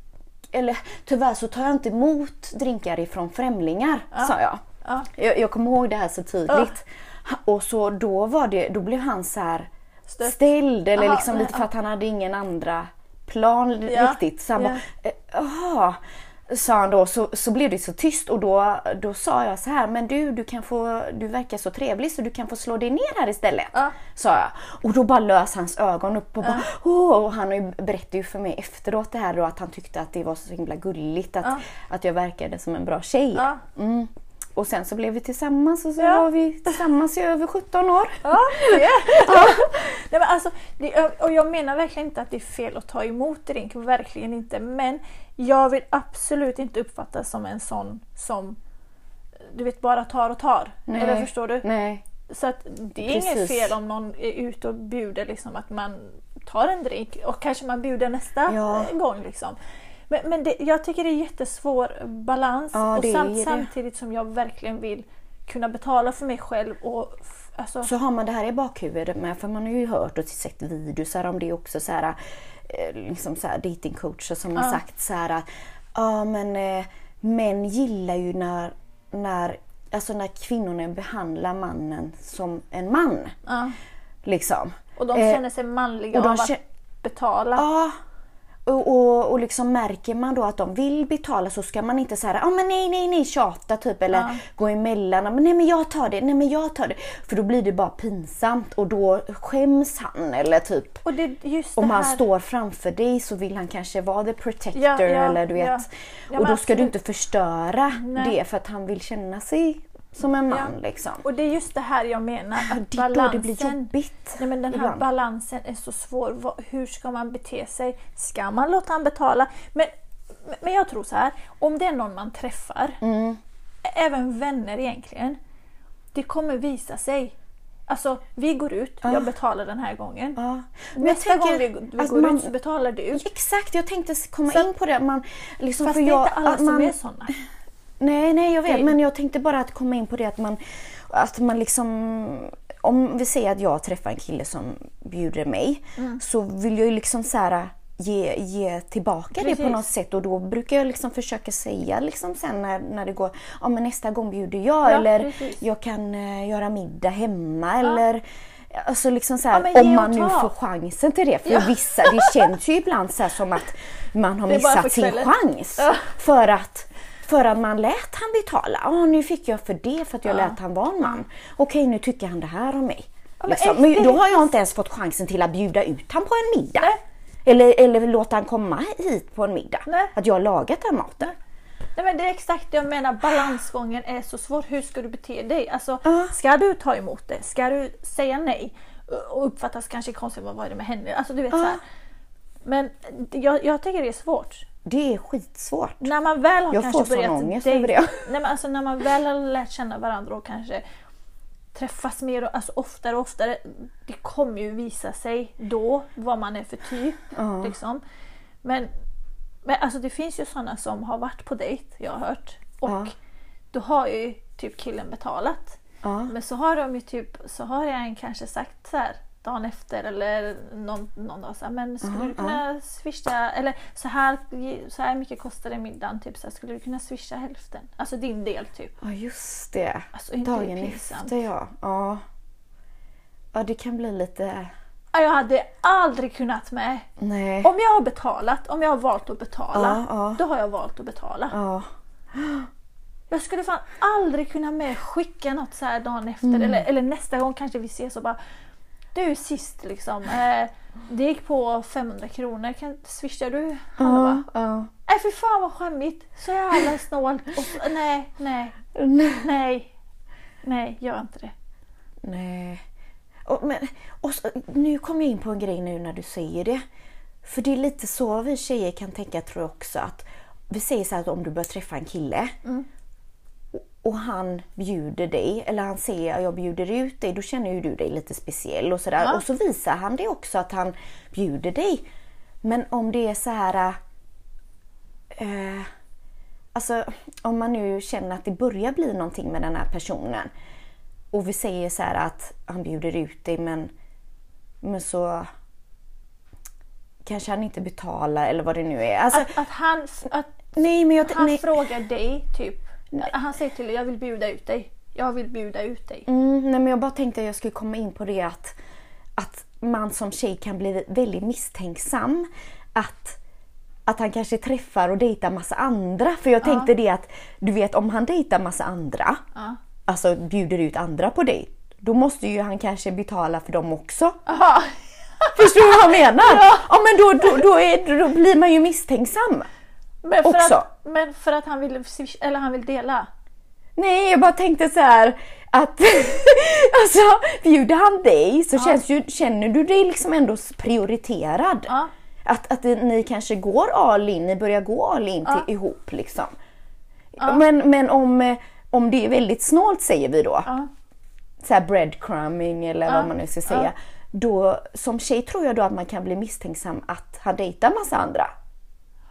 C: eller tyvärr så tar jag inte emot drinkar ifrån främlingar, sa jag.
B: Ja.
C: jag. Jag kommer ihåg det här så tydligt. Ha- Och så då, var det, då blev han så här
B: Stött.
C: ställd eller
B: Aha,
C: liksom
B: nej,
C: lite för att han hade ingen andra plan
B: Ja,
C: riktigt. Så han
B: ja.
C: bara, eh, jaha, sa han då. Så, så blev det så tyst och då, då sa jag så här, men du, du, kan få, du verkar så trevlig så du kan få slå dig ner här istället.
B: Ja.
C: Sa jag. Och då bara lös hans ögon upp och bara, åh, och han har ju- berättade ju för mig efteråt det här då att han tyckte att det var så himla gulligt att,
B: Ja.
C: att jag verkade som en bra tjej.
B: Ja.
C: Mm. Och sen så blev vi tillsammans och så
B: Ja.
C: var vi tillsammans i över 17 år.
B: Ja, det. Nej, men alltså, det, och jag menar verkligen inte att det är fel att ta emot drink, verkligen inte. Men jag vill absolut inte uppfattas som en sån som du vet bara tar och tar.
C: Nej.
B: Eller förstår du?
C: Nej.
B: Så att det är inget
C: Precis.
B: fel om någon är ute och bjuder liksom att man tar en drink och kanske man bjuder nästa
C: Ja.
B: gång. Liksom. Men, men det, jag tycker det är jättesvår balans
C: Ja,
B: och
C: det är
B: sam-
C: det.
B: samtidigt som jag verkligen vill kunna betala för mig själv. Och f- alltså,
C: Så har man det här i bakhuvudet med, för man har ju hört och sett videosar om det också, så här, eh, liksom så här datingcoacher som har sagt så här, ja men eh, män gillar ju när, när, alltså när kvinnorna behandlar mannen som en man.
B: ja.
C: Liksom.
B: Och de
C: Eh,
B: känner sig manliga
C: och de
B: av att
C: kä-
B: betala.
C: Ja. Och, och, och liksom märker man då att de vill betala så ska man inte säga ah, men nej, nej, nej, tjata typ eller
B: Ja.
C: gå emellan. "Ah, Men, nej men jag tar det, nej men jag tar det. För då blir det bara pinsamt och då skäms han eller typ
B: Och det, just
C: om
B: det
C: han
B: här...
C: står framför dig så vill han kanske vara the protector
B: Ja, ja,
C: eller du
B: ja.
C: vet.
B: Ja, men
C: och då ska du
B: absolut.
C: inte förstöra
B: Nej.
C: det för att han vill känna sig som en man liksom.
B: Och det är just det här jag menar.
C: Ja,
B: Att
C: det är då det blir
B: balansen-
C: jobbigt
B: Nej, men den här
C: ibland.
B: balansen är så svår. Vad- Hur ska man bete sig? Ska man låta han betala? Men, men jag tror så här. Om det är någon man träffar,
C: Mm.
B: ä- även vänner egentligen, det kommer visa sig. Alltså, vi går ut, jag betalar den här gången.
C: Ja. Men jag
B: Nästa gång vi,
C: tänker
B: vi
C: att
B: går
C: man-
B: ut så betalar du.
C: Exakt, jag tänkte komma
B: Så att-
C: in på det. Man, liksom,
B: Fast
C: för
B: det är
C: jag,
B: inte alla
C: att
B: som
C: man,
B: är sådana.
C: Nej, nej jag vet.
B: Det-
C: Men jag tänkte bara att komma in på det att man, att man liksom... Om vi säger att jag träffar en kille som bjuder mig
B: Mm.
C: så vill jag ju liksom så här, ge, ge tillbaka det på
B: Precis.
C: något sätt och då brukar jag liksom försöka säga liksom sen när, när det går, ja men nästa gång bjuder jag
B: Ja,
C: eller
B: precis.
C: jag kan eh, göra middag hemma eller Alltså liksom så här,
B: men ge
C: om
B: och
C: man nu
B: ta.
C: får chansen till det. För
B: Ja.
C: vissa, det känns ju ibland så här som att man har
B: Det är bara
C: missat
B: för
C: sin
B: kvällen.
C: chans.
B: Ja.
C: För att, för att man lät han betala. Ja, nu fick jag för det för att jag lät han vara en man. Okej, nu tycker han det här om mig.
B: men
C: liksom.
B: är-
C: men
B: är
C: då
B: det-
C: har jag inte ens fått chansen till att bjuda ut han på en middag.
B: Nej.
C: Eller, eller låta han komma hit på en middag.
B: Nej.
C: Att jag har lagat den maten.
B: Nej, men det är exakt det jag menar. Balansgången är så svår. Hur ska du bete dig? Alltså,
C: Ja.
B: Ska du ta emot det? Ska du säga nej? Och uppfattas kanske konstigt. Vad var det med henne? Alltså, du vet, så här. Men jag, jag tycker det är svårt.
C: Det är skitsvårt.
B: När man väl har
C: Jag
B: kanske
C: får sån
B: börjat
C: ångest
B: dej-
C: över det.
B: Nej, men alltså, när man väl har lärt känna varandra och kanske träffas mer och alltså, oftare och oftare. Det kommer ju visa sig då vad man är för typ. Liksom. Men, men alltså, det finns ju sådana som har varit på dejt, jag har hört. Och
C: Ja.
B: då har ju typ killen betalat.
C: Ja.
B: Men så har de ju typ, så har jag kanske sagt så här dagen efter eller någon, någon dag så här, men
C: Mm,
B: skulle du kunna swisha eller så här, så här mycket kostar det middagen typ så här, skulle du kunna swisha hälften? Alltså din del typ.
C: Ja, just det.
B: Alltså, inte det är
C: Dagen
B: pinsamt?
C: efter ja. ja. Ja, det kan bli lite...
B: Ja, Jag hade aldrig kunnat med.
C: Nej.
B: Om jag har betalat, om jag har valt att betala,
C: Ja, ja.
B: då har jag valt att betala.
C: Ja.
B: Jag skulle fan aldrig kunna med skicka något så här dagen efter
C: Mm.
B: eller, eller nästa gång kanske vi ses och bara Du sist liksom, eh, det gick på 500 kronor, kan, swishar du? Han bara,
C: Ja. ja.
B: nej Äh, fy fan vad skämmigt, så jävla snål. Och så, nej, nej, Mm. nej, nej, gör inte det.
C: Nej. Och, men, och så, nu kom jag in på en grej nu när du säger det. För det är lite så vi tjejer kan tänka tror jag också att vi säger så här att om du börjar träffa en kille och, och han bjuder dig eller han säger jag bjuder ut dig då känner ju du dig lite speciell och sådär.
B: Ja.
C: Och så visar han det också att han bjuder dig. Men om det är så här eh, Alltså om man nu känner att det börjar bli någonting med den här personen och vi säger så här att han bjuder ut dig men, men så kanske han inte betalar eller vad det nu är. Alltså,
B: Att, att han, att
C: nej men jag...
B: han
C: nej.
B: frågar dig typ, han säger till dig jag vill bjuda ut dig, jag vill bjuda ut dig.
C: Mm, nej men jag bara tänkte att jag skulle komma in på det att, att man som tjej kan bli väldigt misstänksam. Att, att han kanske träffar och dejtar massa andra. För jag tänkte det att du vet om han dejtar massa andra,
B: Ja.
C: alltså bjuder ut andra på dejt, då måste ju han kanske betala för dem också.
B: Aha.
C: Förstår du vad jag menar?
B: Ja.
C: Ja, men då, då, då, är, då blir man ju misstänksam.
B: Men för,
C: Också.
B: Att, men för att han vill, swish, eller han vill dela.
C: Nej, jag bara tänkte så här att alltså, bjuder han dig så känns ju, känner du dig liksom ändå prioriterad.
B: Ja.
C: Att, att ni kanske går all in, ni börjar gå all in till, ihop liksom. Men, men om, eh, om det är väldigt snålt säger vi då,
B: Ja.
C: så här breadcrumbing eller
B: Ja.
C: vad man nu ska säga.
B: Ja.
C: Då, som tjej tror jag då att man kan bli misstänksam att han dejtar massa andra.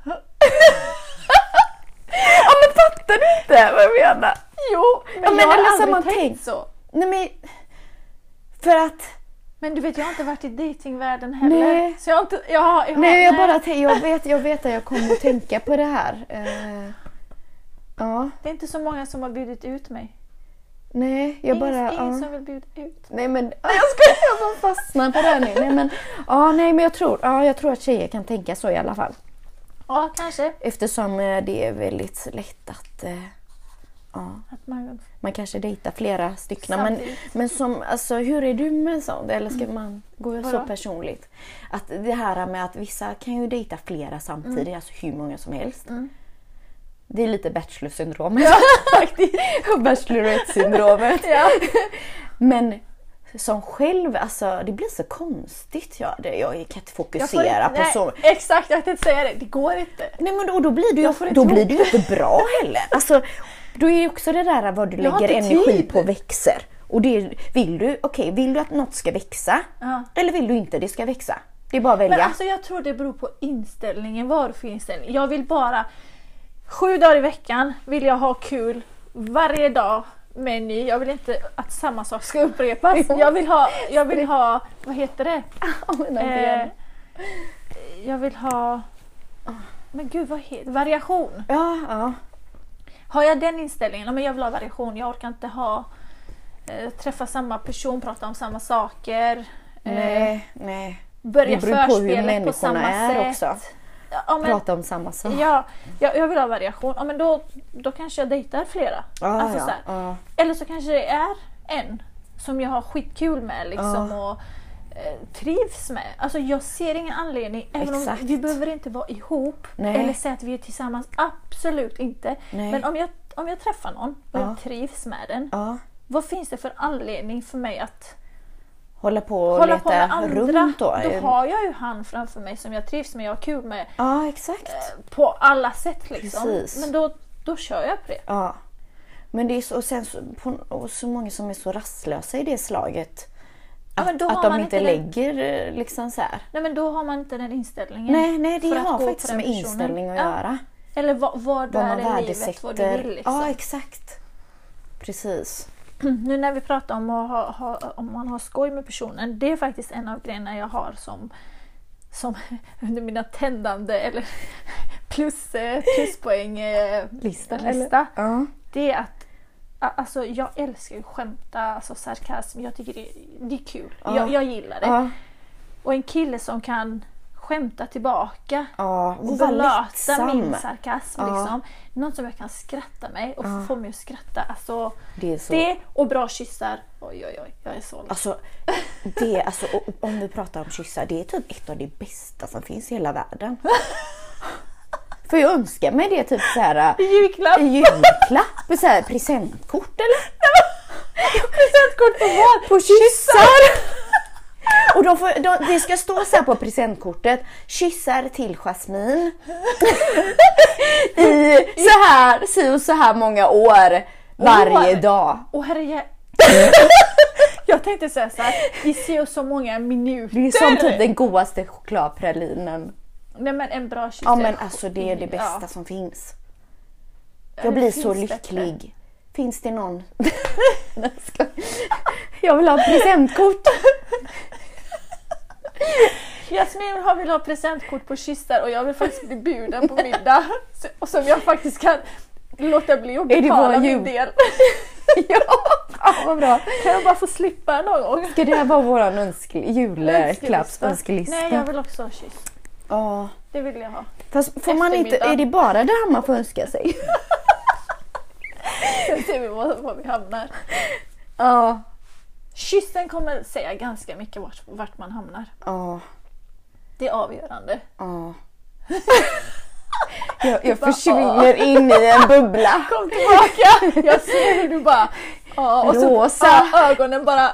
C: ja men fattar du inte vad jag menar?
B: Jo, men,
C: men
B: jag har
C: eller så
B: aldrig
C: man
B: tänkt
C: tänkt-
B: så.
C: Nej men, för att
B: Men du vet, jag har inte varit i datingvärlden heller.
C: Nej.
B: Så jag har inte... Jag, har- jag, har-
C: Nej, jag bara tän- jag vet, jag vet att jag kommer att tänka på det här. Eh, ja,
B: Det är inte så många som har bjudit ut mig.
C: nej, jag
B: Ingen-
C: bara...
B: ingen
C: ja.
B: som vill bjuda ut.
C: Nej men jag ska jag bara fastnar på det här nu. Nej men, ja, nej men jag tror, ja, jag tror att tjejer kan tänka så i alla fall.
B: Ja, kanske.
C: Eftersom eh, det är väldigt lätt att eh, ja,
B: Att man...
C: man kanske dejtar flera stycken. Men,
B: Samtidigt. Mm.
C: men som, alltså, hur är du med sånt? Eller ska man gå så
B: Vadå?
C: personligt? Att det här med att vissa kan ju dejta flera samtidigt,
B: Mm.
C: alltså hur många som helst. Det är lite bachelor-syndromet. faktiskt. Bachelorette-syndromet.
B: Ja.
C: Men som själv, alltså det blir så konstigt. Jag, det- jag kan inte
B: Jag får
C: fokusera
B: inte-
C: på så.
B: Nej, exakt, jag tänkte säga det. Det går inte.
C: Nej men då, då blir du ju
B: får inte
C: då blir
B: ihop
C: du ju inte bra heller. Alltså, då är ju också det där vad du
B: Jag har
C: lägger
B: inte
C: energi
B: tid.
C: på växer. Och det är, vill du, okej, vill du att något ska växa?
B: Ja.
C: Eller vill du inte det ska växa? Det är bara att välja.
B: Men alltså jag tror det beror på inställningen. Vad har du för inställning? Jag vill bara... Sju dagar i veckan vill jag ha kul varje dag med en ny. Jag vill inte att samma sak ska upprepas.
C: Jo.
B: Jag vill ha... Jag vill ha vad heter det? Eh,
C: eh,
B: jag vill ha... Men gud vad heter Variation.
C: ja, ja.
B: Har jag den inställningen? Ja, men jag vill ha variation. Jag orkar inte ha... Eh, träffa samma person, prata om samma saker. eh,
C: Nej, nej.
B: börja
C: Det beror på hur
B: förspelet på
C: människorna
B: samma
C: är
B: sätt.
C: också.
B: Ja, men,
C: Prata om samma sak.
B: ja, jag, jag vill ha variation. Ja, men då, då kanske jag dejtar flera.
C: Ja,
B: Alltså
C: Ah, ja,
B: så här.
C: ja.
B: Eller så kanske det är en som jag har skitkul med liksom,
C: Ah.
B: och eh, trivs med. Alltså, jag ser ingen anledning. Även
C: Exakt.
B: om vi behöver inte vara ihop
C: Nej.
B: eller säga att vi är tillsammans. Absolut inte.
C: Nej. Ah.
B: Men om jag, om jag träffar någon och
C: Ja.
B: jag trivs med den.
C: ja.
B: Vad finns det för anledning för mig att
C: Hålla på och
B: hålla
C: leta
B: på med andra?
C: runt då. Eh,
B: då har jag ju han framför mig som jag trivs med och har kul med.
C: Ja, exakt.
B: på alla sätt liksom.
C: Precis.
B: Men då, då kör jag på det.
C: Ja. Men det är så, och sen så, på, och så många som är så rastlösa i det slaget.
B: Ja, men
C: att
B: då har
C: att de
B: man
C: inte
B: inte den-
C: lägger eh, liksom så här.
B: Nej men då har man inte den inställningen.
C: Nej, nej det
B: för att gå
C: har
B: på
C: faktiskt
B: den
C: med
B: personen.
C: inställning att
B: Ja.
C: göra.
B: Eller vad, vad du
C: Vad
B: är
C: man
B: i livet, vad du
C: värdesätter.
B: vill liksom. Mm,
C: Ja, exakt. Precis.
B: Nu när vi pratar om att ha, ha, om man har skoj med personen. Det är faktiskt en av grejerna jag har som, som under mina tändande eller plus, eh, pluspoäng eh,
C: Lista,
B: lista.
C: Ja.
B: Det är att a- Alltså jag älskar ju att skämta, alltså sarkasm. Jag tycker det, det är kul.
C: Ja.
B: Jag, jag gillar det.
C: Ja.
B: Och en kille som kan skämta tillbaka
C: ja.
B: och
C: Och vara
B: belöta
C: lättsam.
B: min sarkasm.
C: Ja.
B: Liksom. Någon som jag kan skratta med och få mig att skratta. Alltså,
C: Det är så.
B: det och bra kyssar. Oj, oj, oj. Jag är så lätt.
C: Alltså, det, alltså, o- om vi pratar om kyssar, det är typ ett av det bästa som finns i hela världen. För jag önskar mig det typ så här.
B: Julklapp!
C: En julklapp? Så här, presentkort eller?
B: Presentkort på vad?
C: På kyssar! Och de får, de, det ska stå så här på presentkortet, kyssar till Jasmine i så här, si och så här många år varje
B: År?
C: dag.
B: Åh herre... Jag tänkte säga så här, i så och så många minuter.
C: Det är som typ den godaste chokladpralinen.
B: Nej men en bra kyss.
C: Ja men alltså det är det bästa
B: Typ. Ja.
C: som finns.
B: det
C: Jag blir så
B: finns
C: lycklig. Finns det någon? Nej, jag skojar. jag vill ha presentkort.
B: Jasmin har vill ha presentkort på kyssar och jag vill faktiskt bli bjuden på middag. Så- Och som jag faktiskt kan låta bli att
C: det
B: betala
C: vår
B: min
C: jul?
B: del.
C: ja, vad bra.
B: Kan jag bara få slippa någon gång?
C: Ska det här vara vår önske- julklappsönskelista?
B: Nej, jag vill också ha kyss.
C: Ja.
B: Det vill jag ha.
C: Fast får man inte,
B: Eftermiddag.
C: är det bara det här man får önska sig?
B: Sen ser vi var, var vi hamnar.
C: Ja.
B: Kyssen kommer säga ganska mycket vart, vart man hamnar.
C: Ja.
B: Det är avgörande.
C: Ja. Jag, jag försvinner in i en bubbla.
B: Kom tillbaka! Jag ser hur du bara... Ja, och så
C: Rosa.
B: Ja, ögonen bara...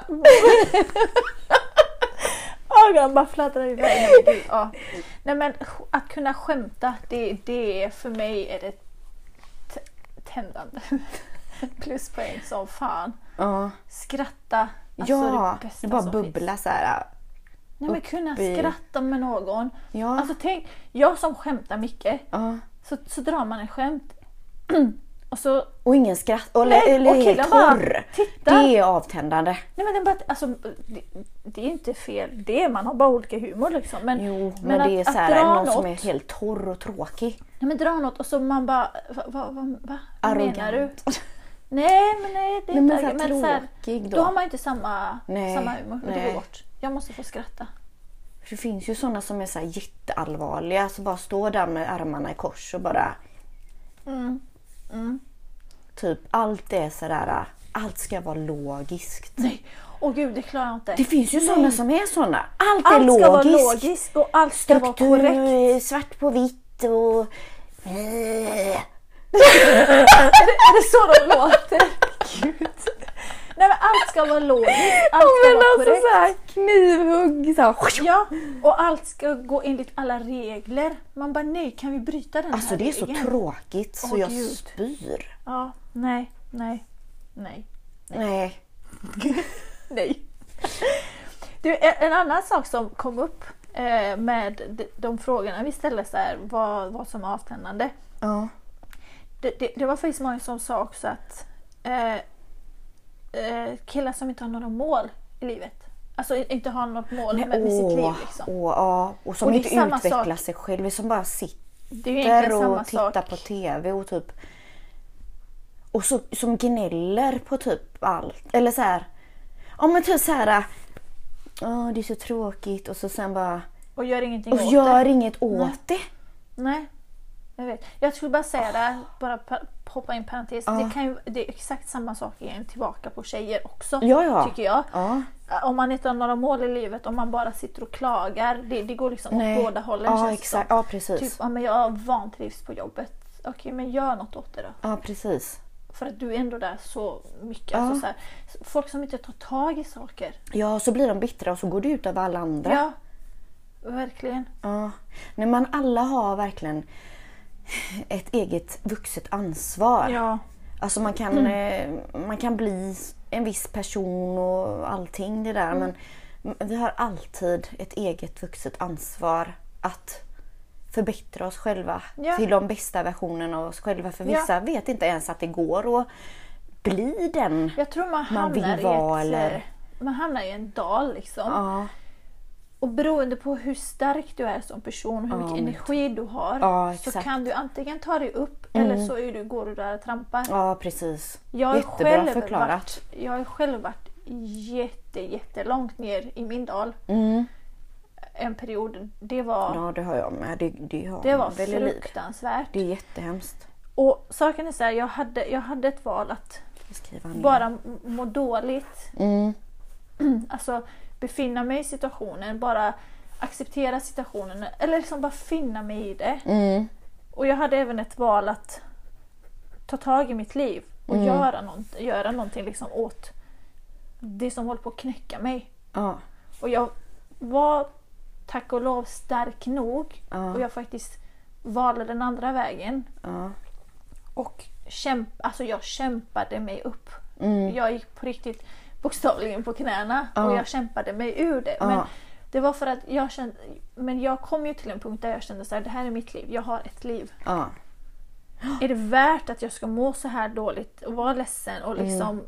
B: ögonen bara fladdrar iväg. Nej, men gud, Ja. Nej men sk- att kunna skämta, det, det är för mig är det t- tändande. Pluspoäng som fan.
C: Ja,
B: Skratta. Alltså
C: ja
B: det bästa
C: det bara
B: som
C: bubbla så här.
B: finns. Nej men kunna
C: upp i-
B: skratta med någon.
C: Ja.
B: Alltså tänk, jag som skämtar mycket,
C: Ja.
B: så, så drar man ett skämt och så
C: Och ingen skratt, eller, eller
B: och killen
C: helt
B: bara
C: torr.
B: tittar.
C: Det är avtändande.
B: Nej men den bara, alltså, det, det är inte fel det, man har bara olika humor liksom. Men,
C: Jo, men,
B: att,
C: det är så
B: att
C: här,
B: dra
C: någon
B: något,
C: som är helt torr och tråkig.
B: nej, men dra något och så man bara, va, va, va, va? vad menar du?
C: Arrogant.
B: Nej men nej, det är
C: Nej, men så
B: inte
C: här
B: men så här,
C: tråkig
B: då.
C: då.
B: har man ju inte samma,
C: Nej,
B: samma humor. och Det
C: nej.
B: går bort. Jag måste få skratta.
C: För det finns ju sådana som är så här jätteallvarliga som bara står där med armarna i kors och bara
B: Mm,
C: typ allt är sådär, allt ska vara logiskt.
B: Nej, åh gud det klarar jag inte.
C: Det finns ju sådana som är sådana. Allt, är
B: Allt ska vara
C: logiskt.
B: logiskt och allt ska vara
C: Struktur,
B: korrekt.
C: svart på vitt och... eh,
B: Är det så de låter? Gud. Nej men allt ska vara logiskt, allt
C: Ja,
B: ska
C: men
B: vara
C: alltså
B: korrekt.
C: såhär knivhugg. Så här.
B: Ja, och allt ska gå enligt alla regler. Man bara nej, kan vi bryta den
C: Alltså
B: här
C: det är så
B: regeln?
C: tråkigt så
B: Åh,
C: jag
B: Gud.
C: spyr.
B: Ja, nej, nej, nej,
C: Nej.
B: nej. Du, en en annan sak som kom upp eh, med de- de frågorna vi ställde så här, vad, vad som är avtändande.
C: Ja.
B: Det, det, det var faktiskt många som sa också att eh, eh, killar som inte har några mål i livet. Alltså i- inte har något mål med, med sitt liv.
C: Åh,
B: Liksom.
C: åh, ja. och som
B: Och det är
C: inte
B: samma
C: utvecklar
B: sak.
C: sig själv, som bara sitter
B: Det är ju egentligen samma
C: och tittar
B: sak.
C: på TV och typ... Och så, som gnäller på typ allt. Eller så här. Ja men typ så här. Åh, det är så tråkigt och så sen bara...
B: Och gör ingenting
C: Och
B: åt det. Mm.
C: gör inget åt det.
B: Nej, jag vet. Jag skulle bara säga det, här, bara pa- hoppa in parentes.
C: Ja.
B: Det, kan ju, det är exakt samma sak igen tillbaka på tjejer också.
C: Ja, ja.
B: Tycker jag.
C: Ja.
B: Om man inte har några mål i livet, om man bara sitter och klagar. Det, det går liksom åt båda hållen. känns
C: Ja
B: det
C: exakt,
B: som.
C: ja precis.
B: Typ, ja, men jag vantrivs på jobbet. Okej, men gör något åt det då.
C: Ja precis.
B: För att du är ändå där så mycket.
C: Ja.
B: Alltså, så här, folk som inte tar tag i saker.
C: Ja så blir de bittra och så går det ut över alla andra.
B: Ja, verkligen.
C: Ja. När man alla har verkligen ett eget vuxet ansvar.
B: Ja.
C: Alltså man kan,
B: Mm.
C: eh, man kan bli en viss person och allting det där
B: Mm.
C: men vi har alltid ett eget vuxet ansvar att förbättra oss själva
B: Ja.
C: till de bästa versionerna av oss själva. För
B: Ja.
C: vissa vet inte ens att det går att bli den.
B: Jag tror man
C: Man
B: hamnar,
C: vill
B: i
C: vara,
B: ett, eh,
C: eller-
B: man hamnar i en dal liksom.
C: Ja,
B: Och beroende på hur stark du är som person, hur mycket
C: men-
B: energi du har,
C: Ja,
B: så
C: exakt. Mm.
B: kan du antingen ta dig upp eller så är du, går du där och trampar.
C: ja precis.
B: Jag har
C: Jättebra
B: själv
C: förklarat.
B: Varit, jag har själv varit jätte, jättelångt ner i min dal en period. Det var,
C: Mm. Ja det har jag med. Det, det, har
B: det var
C: man väl i livet.
B: fruktansvärt.
C: Det är jättehemskt.
B: Och saken är så här, jag hade, jag hade ett val att
C: Jag skriver han
B: bara m- må dåligt.
C: Mm.
B: Alltså befinna mig i situationen, bara acceptera situationen eller liksom bara finna mig i det.
C: Mm.
B: Och jag hade även ett val att ta tag i mitt liv och
C: Mm.
B: göra, nånt- göra någonting liksom åt det som håller på att knäcka mig.
C: Ja.
B: Och jag var tack och lov stark nog
C: Ja.
B: och jag faktiskt valde den andra vägen.
C: ja.
B: Och kämp alltså jag kämpade mig upp. Jag gick på riktigt bokstavligen på knäna och
C: Mm. Ja.
B: jag kämpade mig ur det.
C: Ja.
B: Men det var för att jag kände, men jag kom ju till en punkt där jag kände så här, det här är mitt liv, jag har ett liv.
C: ja.
B: Är det värt att jag ska må så här dåligt och vara ledsen och
C: Mm.
B: liksom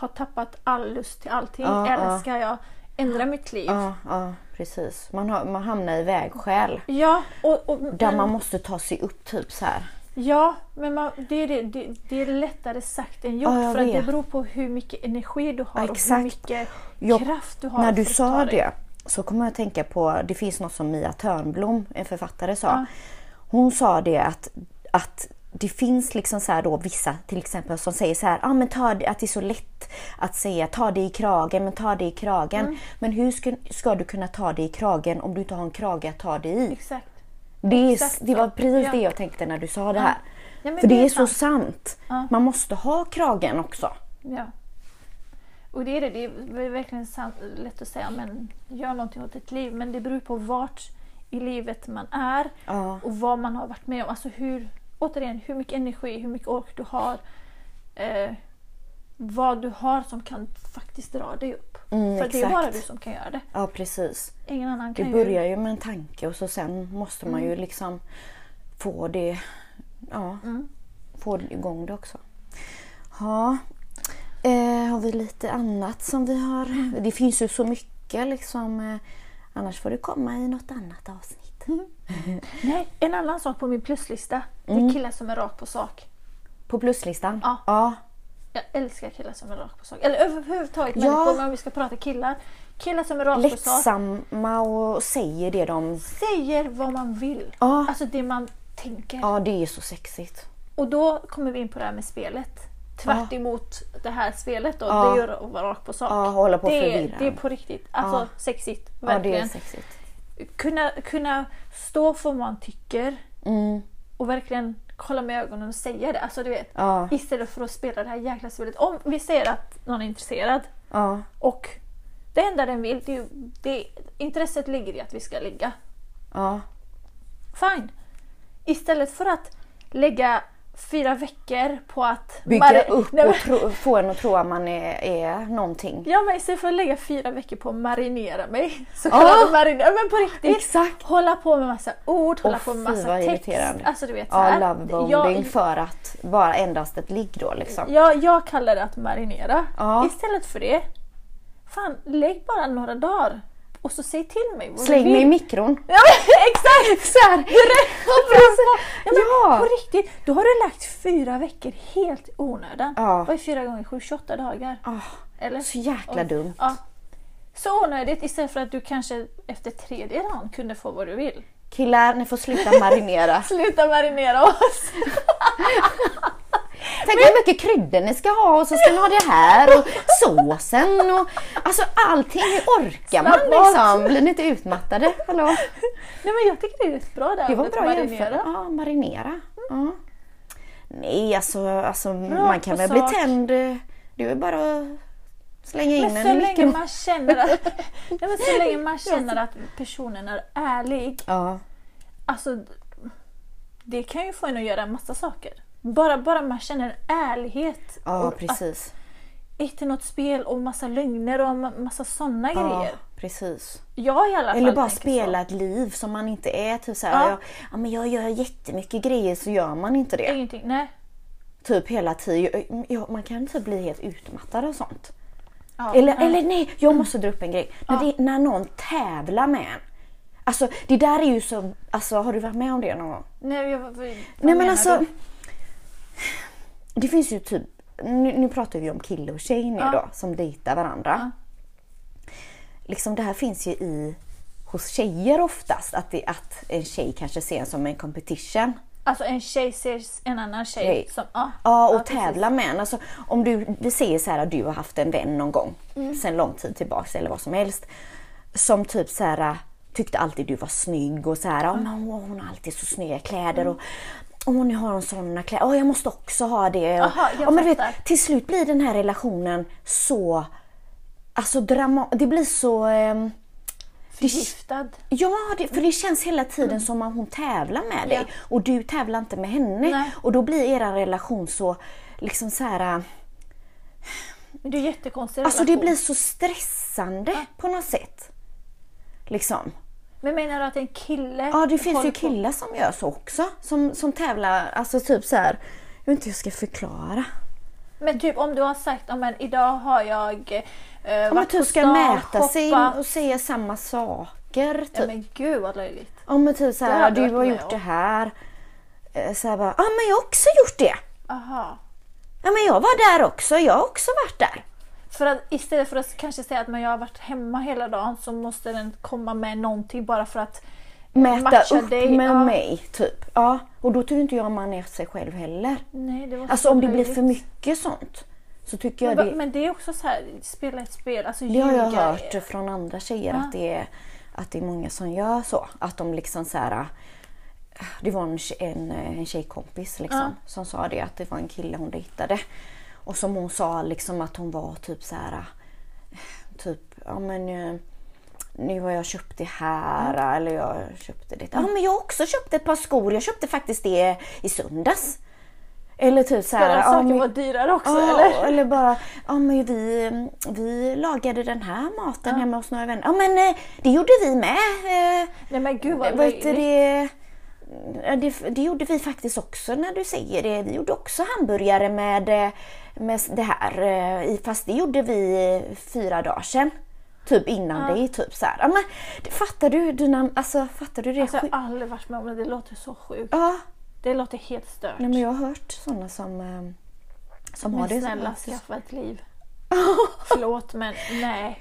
B: ha tappat all lust till allting?
C: Ja,
B: Eller
C: ja.
B: ska jag ändra mitt liv?
C: Ja, ja precis. Man, har, man hamnar i vägskäl.
B: Ja, och, och,
C: Där
B: men-
C: man måste ta sig upp typ så här.
B: Ja, men man, det, är det, det, det är lättare sagt än gjort.
C: Ja, jag
B: för att det
C: vet.
B: beror på hur mycket energi du har
C: Ja,
B: och hur
C: exakt.
B: mycket
C: Jag-
B: kraft du har.
C: När du
B: för att
C: sa
B: ta dig.
C: det så kommer jag att tänka på, det finns något som Mia Törnblom, en författare, sa.
B: Ja.
C: Hon sa det att, att det finns liksom så här då vissa till exempel som säger så här, ah, men ta, det- att det är så lätt att säga ta det i kragen, men ta det i kragen.
B: Mm.
C: Men hur ska, ska du kunna ta det i kragen om du inte har en krage att ta det i?
B: Exakt.
C: Det, är,
B: Exakt
C: det var
B: så.
C: precis
B: Ja.
C: det jag tänkte när du sa det här.
B: Ja, men
C: För det är, så
B: sant.
C: sant.
B: Ja.
C: Man måste ha kragen också.
B: Ja. Och det är det, det är verkligen sant, lätt att säga men gör någonting åt ditt liv. Men det beror på vart i livet man är
C: Ja.
B: och vad man har varit med om. Alltså hur, återigen, hur mycket energi, hur mycket ork du har. Eh, vad du har som kan faktiskt dra dig upp.
C: Mm,
B: För det är
C: exakt.
B: bara du som kan göra det.
C: Ja precis.
B: Ingen annan
C: Det
B: kan ju...
C: börjar ju med en tanke och så sen måste man
B: Mm.
C: ju liksom få det, ja,
B: Mm.
C: få igång det också. Ja, eh, har vi lite annat som vi har?
B: Mm.
C: Det finns ju så mycket liksom. Eh, annars får du komma i något annat avsnitt.
B: Mm. Nej, en annan
C: Mm.
B: sak på min pluslista. Det är killar som är rakt på sak.
C: På pluslistan?
B: Ja. Jag älskar killar som är rakt på sak. Eller överhuvudtaget
C: Ja.
B: människor, men om vi ska prata killar. Killar som är rakt på sak
C: Lättsamma och säger det de...
B: säger vad man vill.
C: Ja.
B: Alltså det man tänker.
C: Ja, det är så sexigt.
B: Och då kommer vi in på det här med spelet. Tvärt emot det här spelet då.
C: Ja.
B: Det är ju att vara rakt på sak.
C: Ja, hålla på och
B: det, är,
C: förvirra.
B: det är på riktigt. Alltså
C: Ja.
B: sexigt.
C: Ja, det är
B: Verkligen.
C: sexigt.
B: kunna, kunna stå för vad man tycker
C: Mm.
B: och verkligen kolla med ögonen och säga det. Alltså du vet.
C: Ja,
B: Istället för att spela det här jäkla spelet. Om vi säger att någon är intresserad
C: ja,
B: och det enda den vill, det, är ju- det, intresset ligger i att vi ska ligga.
C: ja.
B: Fine. Istället för att lägga fyra veckor på att...
C: Bygga
B: Mari-
C: upp
B: Nej, men-
C: och tro, få en att tro att man är, är någonting.
B: Ja men istället för att lägga fyra veckor på att marinera mig. Så
C: Ja.
B: kallad marinera, men på riktigt.
C: Exakt.
B: Hålla på med massa ord, hålla
C: Åh,
B: på med
C: fy,
B: massa
C: vad
B: text.
C: irriterande.
B: Alltså du vet så
C: Ja,
B: här.
C: lovebombing
B: jag,
C: för att vara endast ett ligg då liksom.
B: jag, jag kallar det att marinera.
C: Ja.
B: Istället för det, fan lägg bara några dagar och så säg till mig vad du
C: Släng mig i
B: vill.
C: mikron.
B: Ja, men exakt! Så här. Ja, men
C: Ja.
B: På riktigt, då har du lagt fyra veckor helt i onödan.
C: Ja.
B: Vad är fyra gånger sju? 28 dagar.
C: Ah,
B: Eller?
C: så jäkla
B: Oj.
C: dumt.
B: Ja. Så onödigt istället för att du kanske efter tredje dagen kunde få vad du vill.
C: Killar, ni får sluta marinera.
B: Sluta marinera oss!
C: Tänk hur mycket kryddor ni ska ha och så ska ni ha det här och såsen och alltså allting. Hur orkar man
B: Slappna av.
C: liksom? Blir ni inte utmattade? Hallå?
B: Nej men jag tycker det är rätt bra där
C: Det var
B: att
C: bra
B: marinera. Mm.
C: jämfört. Ja, marinera. Ja. Nej, alltså, alltså
B: på
C: man kan väl bli
B: sak.
C: tänd. Det är bara att slänga in
B: Men
C: en
B: så
C: i
B: länge
C: mikron.
B: man känner att, nej, men så länge man känner att personen är ärlig,
C: Ja,
B: alltså det kan ju få en att göra en massa saker. Bara, bara man känner ärlighet.
C: ja
B: och Att,
C: precis.
B: inte något spel och massa lögner och ma- massa sådana
C: Ja,
B: grejer.
C: precis.
B: Jag i alla fall
C: Eller bara
B: tänker
C: spela ett liv som man inte är. Typ såhär,
B: Ja.
C: ja. Ja, men jag gör jättemycket grejer så gör man inte
B: så.
C: det.
B: Ingenting, nej.
C: Typ hela tiden. Ja, man kan typ bli helt utmattad och sånt.
B: Ja, Mm.
C: Eller,
B: nej.
C: eller nej, jag måste dra upp en grej. När, det, när någon tävlar med en. Alltså det där är ju så, alltså har du varit med om det någon gång?
B: Nej, jag, vad, vad nej
C: Nej men alltså. Det finns ju typ, nu, nu pratar vi om kille och tjej nu
B: Ja.
C: då, som dejtar varandra. Liksom det här finns ju i, hos tjejer oftast, att, det, att en tjej kanske ser en som en competition.
B: Alltså en tjej ser en annan tjej
C: Tjej.
B: som... Ja,
C: Ja, och
B: precis.
C: tävla med en. Alltså, om du, vi säger så här att du har haft en vän någon gång,
B: Mm.
C: sen lång tid tillbaks eller vad som helst, som typ så här tyckte alltid du var snygg och så här, "Ja, men hon, hon har alltid så snygga kläder och Åh, nu har hon sådana kläder. Åh, jag måste också ha det. Och,
B: Aha, Mm. jag
C: ja, men du
B: fattar.
C: vet, till slut blir den här relationen så... Alltså drama... Det blir så... ehm,
B: Förgiftad.
C: Ja, det, för det känns hela tiden som att hon tävlar med dig
B: Mm. Ja.
C: och du tävlar inte med henne.
B: Nej.
C: Och då blir er relation så liksom så här,
B: Det är jättekonstig
C: alltså det
B: relation.
C: blir så stressande på något sätt. Liksom.
B: Men menar du att en kille...
C: Ja, det finns
B: håller
C: ju
B: på-
C: killar som gör så också, som, som tävlar, alltså typ så här. jag vet inte hur jag ska förklara.
B: Men typ om du har sagt om men idag har jag eh,
C: Om man
B: varit på
C: typ ska
B: stan,
C: mäta sig
B: shoppat."
C: och säga samma saker. Typ.
B: Ja, men gud vad löjligt.
C: Ja men typ
B: Det
C: såhär,
B: hade jag
C: du
B: varit med
C: har gjort
B: om.
C: det här. Eh, Så här bara, ja men jag har också gjort det.
B: Aha.
C: Ja men jag var där också, jag har också varit där.
B: För att istället för att kanske säga att men jag har varit hemma hela dagen så måste den komma med någonting bara för att
C: Mäta
B: matcha
C: upp
B: dig.
C: med
B: Ja.
C: mig typ. Ja, och då tycker inte jag man är sig själv heller.
B: Nej, det var
C: Alltså
B: så
C: om det blir
B: löjligt.
C: för mycket sånt så tycker jag
B: Men,
C: det.
B: men det är också så här, spela ett spel. Alltså,
C: Det har jag
B: ljuga.
C: hört från andra tjejer att, det är, att det är många som gör så. Att de liksom så här. äh, Det var en, tje- en, eh, en tjejkompis liksom,
B: Ja.
C: som sa det att det var en kille hon dejtade. Och som hon sa liksom att hon var typ så här. äh, Typ, ja men eh, nu har jag köpt det här eller jag köpte det. Ja men jag har också köpt ett par skor. Jag köpte faktiskt det i söndags. Eller typ så
B: Ska
C: här.
B: den
C: ja,
B: saken
C: men-
B: vara dyrare också
C: Ja,
B: eller?
C: eller bara, ja men vi, vi lagade den här maten
B: Ah.
C: hemma hos några vänner. Ja men eh, det gjorde vi med. Eh,
B: Nej men gud vad
C: Vad heter
B: löjligt.
C: det? Ja, Det, det gjorde vi faktiskt också när du säger det. Vi gjorde också hamburgare med, eh, med det här. eh, i- Fast det gjorde vi eh, fyra dagar sedan. Typ
B: Ah.
C: innan dig. Typ så här. Ja, men, fattar du dina, alltså, fattar du det?
B: Alltså,
C: Sjuk-
B: jag har aldrig varit med om det, det låter så sjukt.
C: ja.
B: Det låter helt stört.
C: Nej, men jag har hört sådana som eh, Som har
B: Men
C: det
B: snälla
C: så.
B: skaffa ett liv. Förlåt men nej.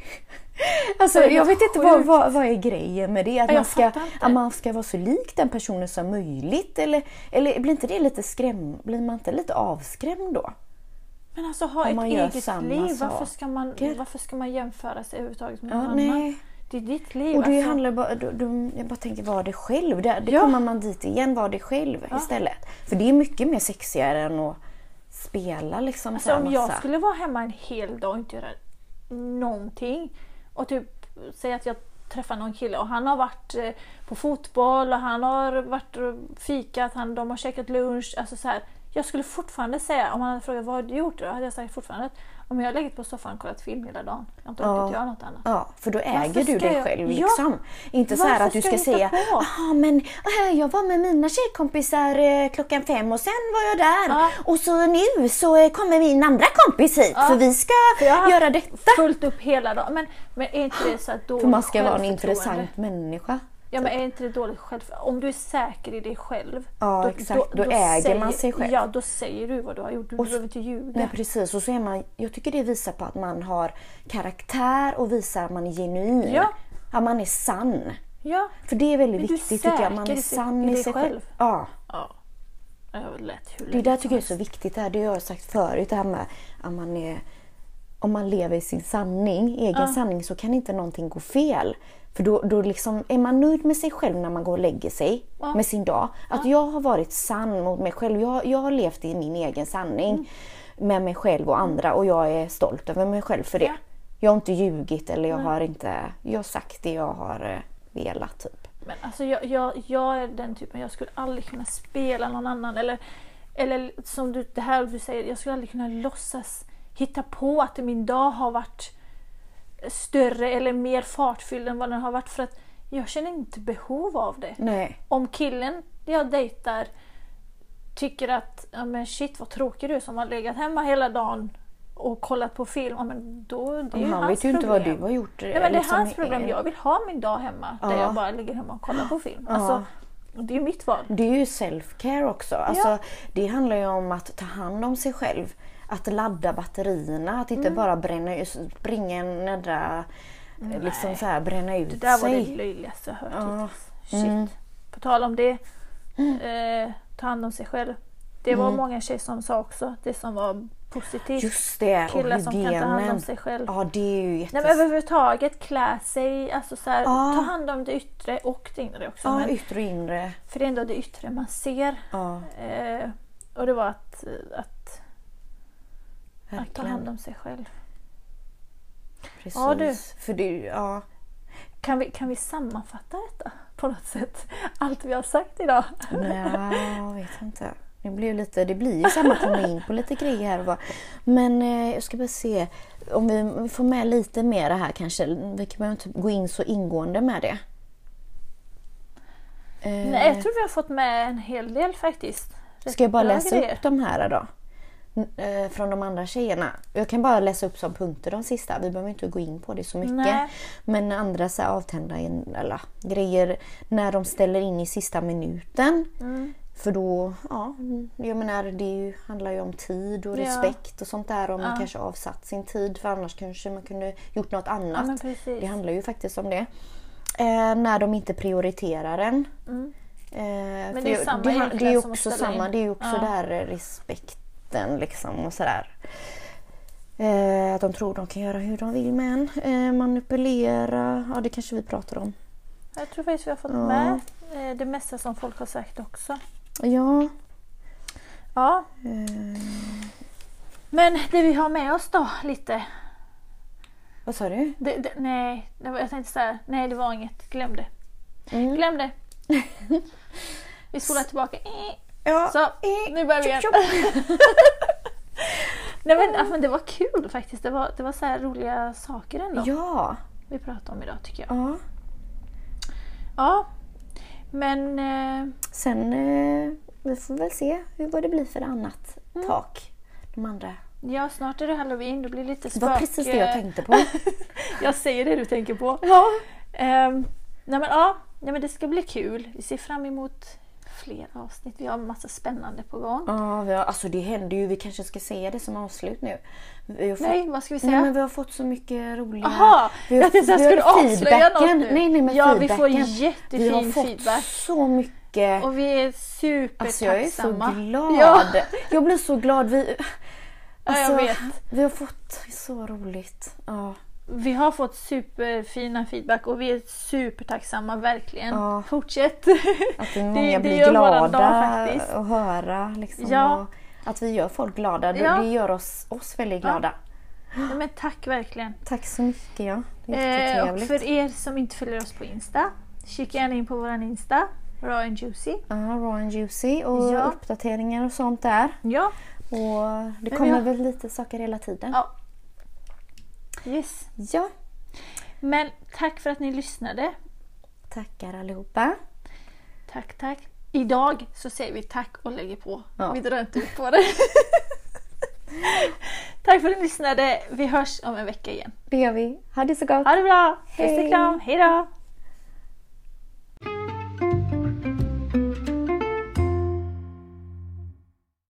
C: Alltså,
B: Det är
C: jag
B: helt
C: vet inte vad,
B: sjukt.
C: vad, vad är grejen med det? Att
B: Ja,
C: man
B: jag
C: ska,
B: fattar inte.
C: att man ska vara så lik den personen som möjligt? Eller, eller blir inte det lite skräm, blir man inte lite avskrämd då?
B: Men alltså ha
C: Om
B: ett
C: man gör
B: eget
C: samma
B: liv. Varför
C: sak.
B: ska, man,
C: Gud.
B: varför ska man jämföra sig överhuvudtaget med
C: Ja,
B: någon
C: nej.
B: annan? Det är ditt liv.
C: Och det
B: alltså.
C: handlar bara, då, då, jag bara tänker, var det själv. Där, det
B: Ja.
C: kommer man dit igen, var det själv istället. För det är mycket mer sexigare än att spela liksom. så
B: Alltså
C: här
B: om jag
C: massa.
B: skulle vara hemma en hel dag och inte göra någonting och typ säga att jag träffar någon kille och han har varit eh, på fotboll och han har varit och fikat, han, de har käkat lunch. Alltså så här, jag skulle fortfarande säga, om han hade frågat vad har du gjort då? Hade jag sagt fortfarande att om jag har legat på soffan och kollat film hela dagen, jag har inte
C: Ja.
B: orkat göra något annat.
C: Ja, för då äger
B: Varför
C: du
B: ska
C: dig
B: jag-
C: själv
B: Ja.
C: liksom. Inte så här
B: Varför
C: att du
B: ska
C: ska
B: jag
C: säga,
B: hitta på?
C: jaha men eh, jag var med mina tjejkompisar eh, klockan fem och sen var jag där.
B: Ja.
C: Och så nu så eh, kommer min andra kompis hit
B: Ja.
C: för vi ska
B: För jag har
C: göra detta.
B: fullt upp hela dagen. Men, men är inte det så att dåligt
C: För man ska vara en
B: självförtroende?
C: intressant människa.
B: Ja men är inte det dåligt själv? Om du är säker i dig själv.
C: Typ. Ja, exakt. Då äger
B: säger,
C: man sig själv.
B: Ja, då säger du vad du har gjort. Du behöver inte ljuga.
C: Nej precis, och så är man, jag tycker det visar på att man har karaktär och visar att man är genuin.
B: Ja.
C: Att man är sann.
B: Ja.
C: För det är väldigt
B: Men du är
C: viktigt tycker jag, man
B: säker
C: är
B: i sig-
C: sann
B: i
C: i
B: dig
C: sig själv.
B: själv.
C: Ja.
B: ja. Jag har lätt hur
C: Det
B: länge
C: där
B: som
C: tycker jag är
B: helst.
C: så viktigt, det, här, det har jag sagt förut, det här med att man är, om man lever i sin sanning, egen sanning, så kan inte någonting gå fel. För då, då liksom, är man nöjd med sig själv när man går och lägger sig
B: Ja.
C: med sin dag. Att jag har varit sann mot mig själv, jag, jag har levt i min egen sanning
B: Mm.
C: med mig själv och andra och jag är stolt över mig själv för det.
B: Ja.
C: Jag har inte ljugit eller jag har inte, jag har sagt det jag har eh, velat typ.
B: Men alltså jag, jag, jag är den typen, jag skulle aldrig kunna spela någon annan. Eller, eller som du, det här du säger, jag skulle aldrig kunna låtsas hitta på att min dag har varit större eller mer fartfylld än vad den har varit. För att jag känner inte behov av det.
C: Nej.
B: om killen jag dejtar tycker att ja, men shit vad tråkig du är som har legat hemma hela dagen och kollat på film. Ja, men då, det är ju
C: Men han
B: hans
C: vet ju inte vad
B: problem.
C: du har gjort.
B: Nej, men det är
C: liksom,
B: hans problem. Jag vill ha min dag hemma där
C: Ja.
B: jag bara ligger hemma och kollar på film. Alltså, det är ju mitt val.
C: Det är ju self-care också. Alltså, Det handlar ju om att ta hand om sig själv. Att ladda batterierna, att
B: Mm.
C: inte bara bränna, springa en jädra... Liksom så här, bränna ut
B: Det där var
C: sig.
B: det löjligaste jag hört
C: Ja. Mm.
B: hittills. Shit. På tal om det, eh, ta hand om sig själv. Det var många tjejer som sa också, det som var positivt.
C: Mm. Just det,
B: Killar
C: och
B: som kan ta hand om
C: hygienen.
B: sig själv.
C: Ja, det är ju jättes...
B: Nej men överhuvudtaget klä sig, alltså så här,
C: Ja.
B: ta hand om det yttre och det inre också.
C: ja,
B: men,
C: yttre och inre.
B: för det är ändå det yttre man ser.
C: Ja,
B: Eh, och det var att, att, att ta hand
C: verkligen.
B: om sig själv.
C: Precis.
B: Ja, du.
C: För det, är ju- ja.
B: Kan vi, kan vi sammanfatta detta på något sätt? Allt vi har sagt idag.
C: Nej, jag vet inte. Det blir, ju lite, det blir ju så här, man kommer in på lite grejer här. och bara- Men eh, jag ska bara se om vi, om vi får med lite mer här kanske. Vi kan behöver inte gå in så ingående med det. Eh,
B: Nej, jag tror vi har fått med en hel del faktiskt. Rätt
C: ska jag bara
B: bra
C: läsa
B: grejer.
C: upp de här då? N- eh, Från de andra tjejerna. Jag kan bara läsa upp som punkter de sista. Vi behöver inte gå in på det så mycket.
B: Nej.
C: Men andra så här, avtända eller, grejer när de ställer in i sista minuten.
B: Mm.
C: För då, ja, mm, jag menar det är ju, handlar ju om tid och
B: Ja.
C: respekt och sånt där. Om man kanske avsatt sin tid för annars kanske man kunde gjort något annat.
B: men precis.
C: det handlar ju faktiskt om det. Eh, när de inte prioriterar en. Eh,
B: Men
C: för
B: det är ju samma
C: det, han- det är ju
B: egentligen som att
C: också
B: ställa
C: samma.
B: in.
C: Det är ju också
B: Ja.
C: där eh, respekten liksom och sådär. Eh, att de tror de kan göra hur de vill med en. Eh, manipulera, ja det kanske vi pratar om.
B: Jag tror faktiskt vi har fått
C: Ja.
B: med eh, det mesta som folk har sagt också.
C: Ja, eh.
B: Ja. Men det vi har med oss då lite.
C: vad sa du?
B: Det, det, nej, det var, jag tänkte så här. Nej, det var inget. Glöm det.
C: Mm.
B: Glöm det. Vi spolar tillbaka.
C: Ja.
B: Så, nu börjar vi igen. Nej, men, ja, men det var kul faktiskt. Det var, det var så här roliga saker ändå
C: Ja.
B: vi pratade om idag tycker jag.
C: ja.
B: Ja, men eh,
C: Sen eh, vi får väl se hur vad det blir för annat
B: Mm.
C: tak. De andra.
B: ja, snart är det halloween. Det blir lite
C: Det
B: spök.
C: var precis det jag
B: eh,
C: tänkte på.
B: jag säger det du tänker på.
C: ja.
B: Ehm, nej men ja, nej, men det ska bli kul. Vi ser fram emot fler avsnitt. Vi har massa spännande på gång.
C: Ja, vi har, alltså det händer ju. Vi kanske ska säga det som avslut nu. Vi har fått,
B: Nej, vad ska vi
C: Nej,
B: säga?
C: men vi har fått så mycket roliga...
B: Jaha!
C: vi har-
B: Jag tänkte att jag
C: vi
B: skulle
C: har
B: avslöja något
C: feedbacken.
B: nu.
C: Nej, nej, men
B: ja, vi får
C: feedbacken.
B: jättefin
C: Vi har fått
B: feedback.
C: så mycket...
B: Och vi är
C: Alltså jag är så
B: supertacksamma.
C: glad.
B: Ja,
C: Jag blir så glad. Vi,
B: ja, jag
C: alltså,
B: vet.
C: vi har fått så roligt. Ja.
B: Vi har fått superfina feedback och vi är supertacksamma verkligen.
C: Ja.
B: Fortsätt!
C: Att många
B: det
C: blir
B: gör våran
C: glada
B: dag faktiskt.
C: att höra. Liksom,
B: Ja.
C: och att vi gör folk glada. Det,
B: Ja.
C: det gör oss, oss väldigt glada.
B: Ja, men tack verkligen!
C: Tack så mycket. Ja. Det är
B: Eh, och
C: jättetrevligt.
B: för er som inte följer oss på Insta, kika gärna in på våran Insta, Raw and Juicy.
C: Ja, raw and juicy och
B: Ja.
C: uppdateringar och sånt där.
B: Ja,
C: Och det
B: vi
C: kommer
B: har-
C: väl lite saker hela tiden.
B: Ja. yes.
C: ja.
B: Men tack för att ni lyssnade.
C: Tackar allihopa.
B: Tack, tack. Idag så säger vi tack och lägger på.
C: Ja.
B: Vi drar inte ut på det. tack för att ni lyssnade. Vi hörs om en vecka igen.
C: Det gör vi. Ha det så gott.
B: Ha det bra! Puss och
C: Hej.
B: kram. Hej då!